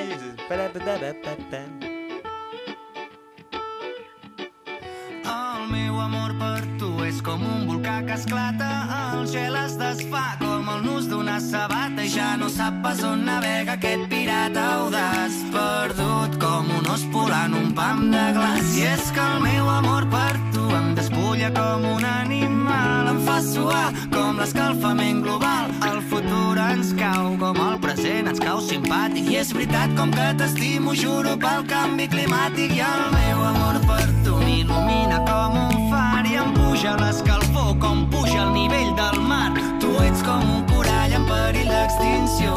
Speaker 9: El meu amor per tu és com un volcà que esclata, el gel es desfà com el nus d'una sabata i ja no sap pas on navega aquest pirata audaç. Perdut com un os volant un pam de glaç. I és que el meu amor per tu em despulla com un animal, em fa suar com l'escalfament global. El futur ens cau com el present, ens cau simpàtic. I és veritat com que t'estimo, juro pel canvi climàtic i el meu amor per tu m'il·lumina com un far i em puja l'escalfor com puja el nivell del mar. Tu ets com un corall en perill d'extinció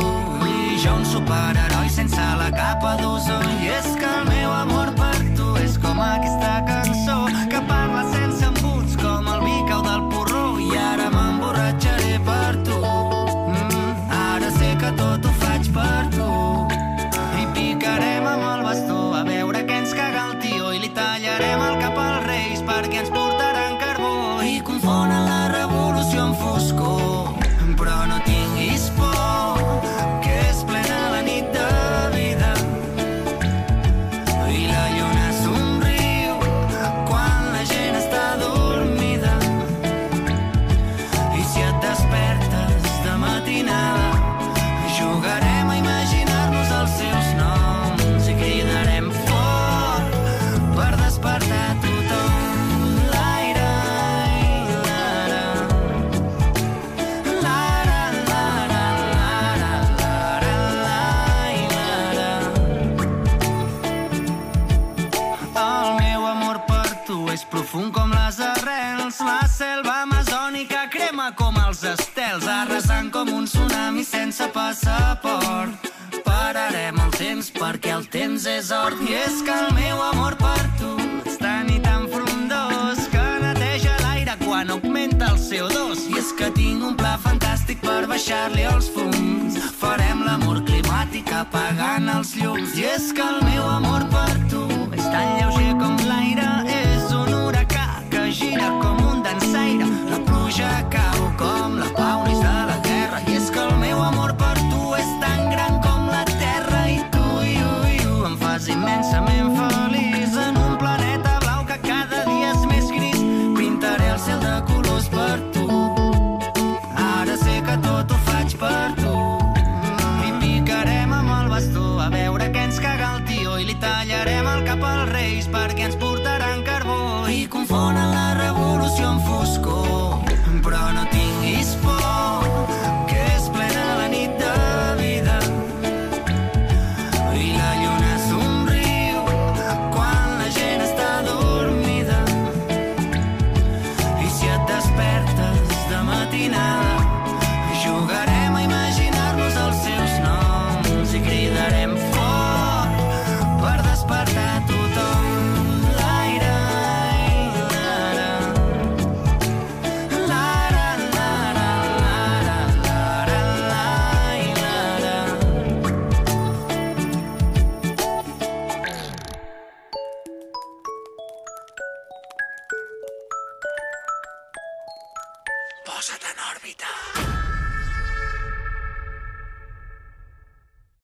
Speaker 9: i jo un superheroi sense la capa d'ozó. I és que el meu amor per tu és com aquesta cançó que parla sense embuts com el bicau del porró i ara m'emborratxaré per tu. Mm, ara sé que tot ho faig per tu i picarem amb el bastó a veure què ens caga el tio i li tallarem el cap als reis perquè ens porti arrels. La selva amazònica crema com els estels, arrasant com un tsunami sense passaport. Pararem el temps perquè el temps és or i és que el meu amor per tu és tan i tan frondós que neteja l'aire quan augmenta el CO2 i és que tinc un pla fantàstic per baixar-li els fums farem l'amor climàtic apagant els llums i és que el meu amor per tu és tan lleuger com l'aire és un huracà que gira com un dansaire la pluja cau com la pau neix de la guerra i és que el meu amor per tu és tan gran com la terra i tu i ui, ui, em fas immensament feliç en un planeta blau que cada dia és més gris pintaré el cel de colors per tu ara sé que tot ho faig per tu i picarem amb el bastó a veure què ens caga el tio i li tallarem el cap als reis perquè ens portaran carbó i confonen la revolució amb foscor però no tinguis por que és plena la nit de vida i la lluna somriu quan la gent està dormida i si et despertes de matinada jugarem a imaginar-nos els seus noms i cridarem fort per despertar tothom L'aire, l'aire, l'aire, l'aire, l'aire, l'aire, l'aire, l'aire. Posa't en òrbita.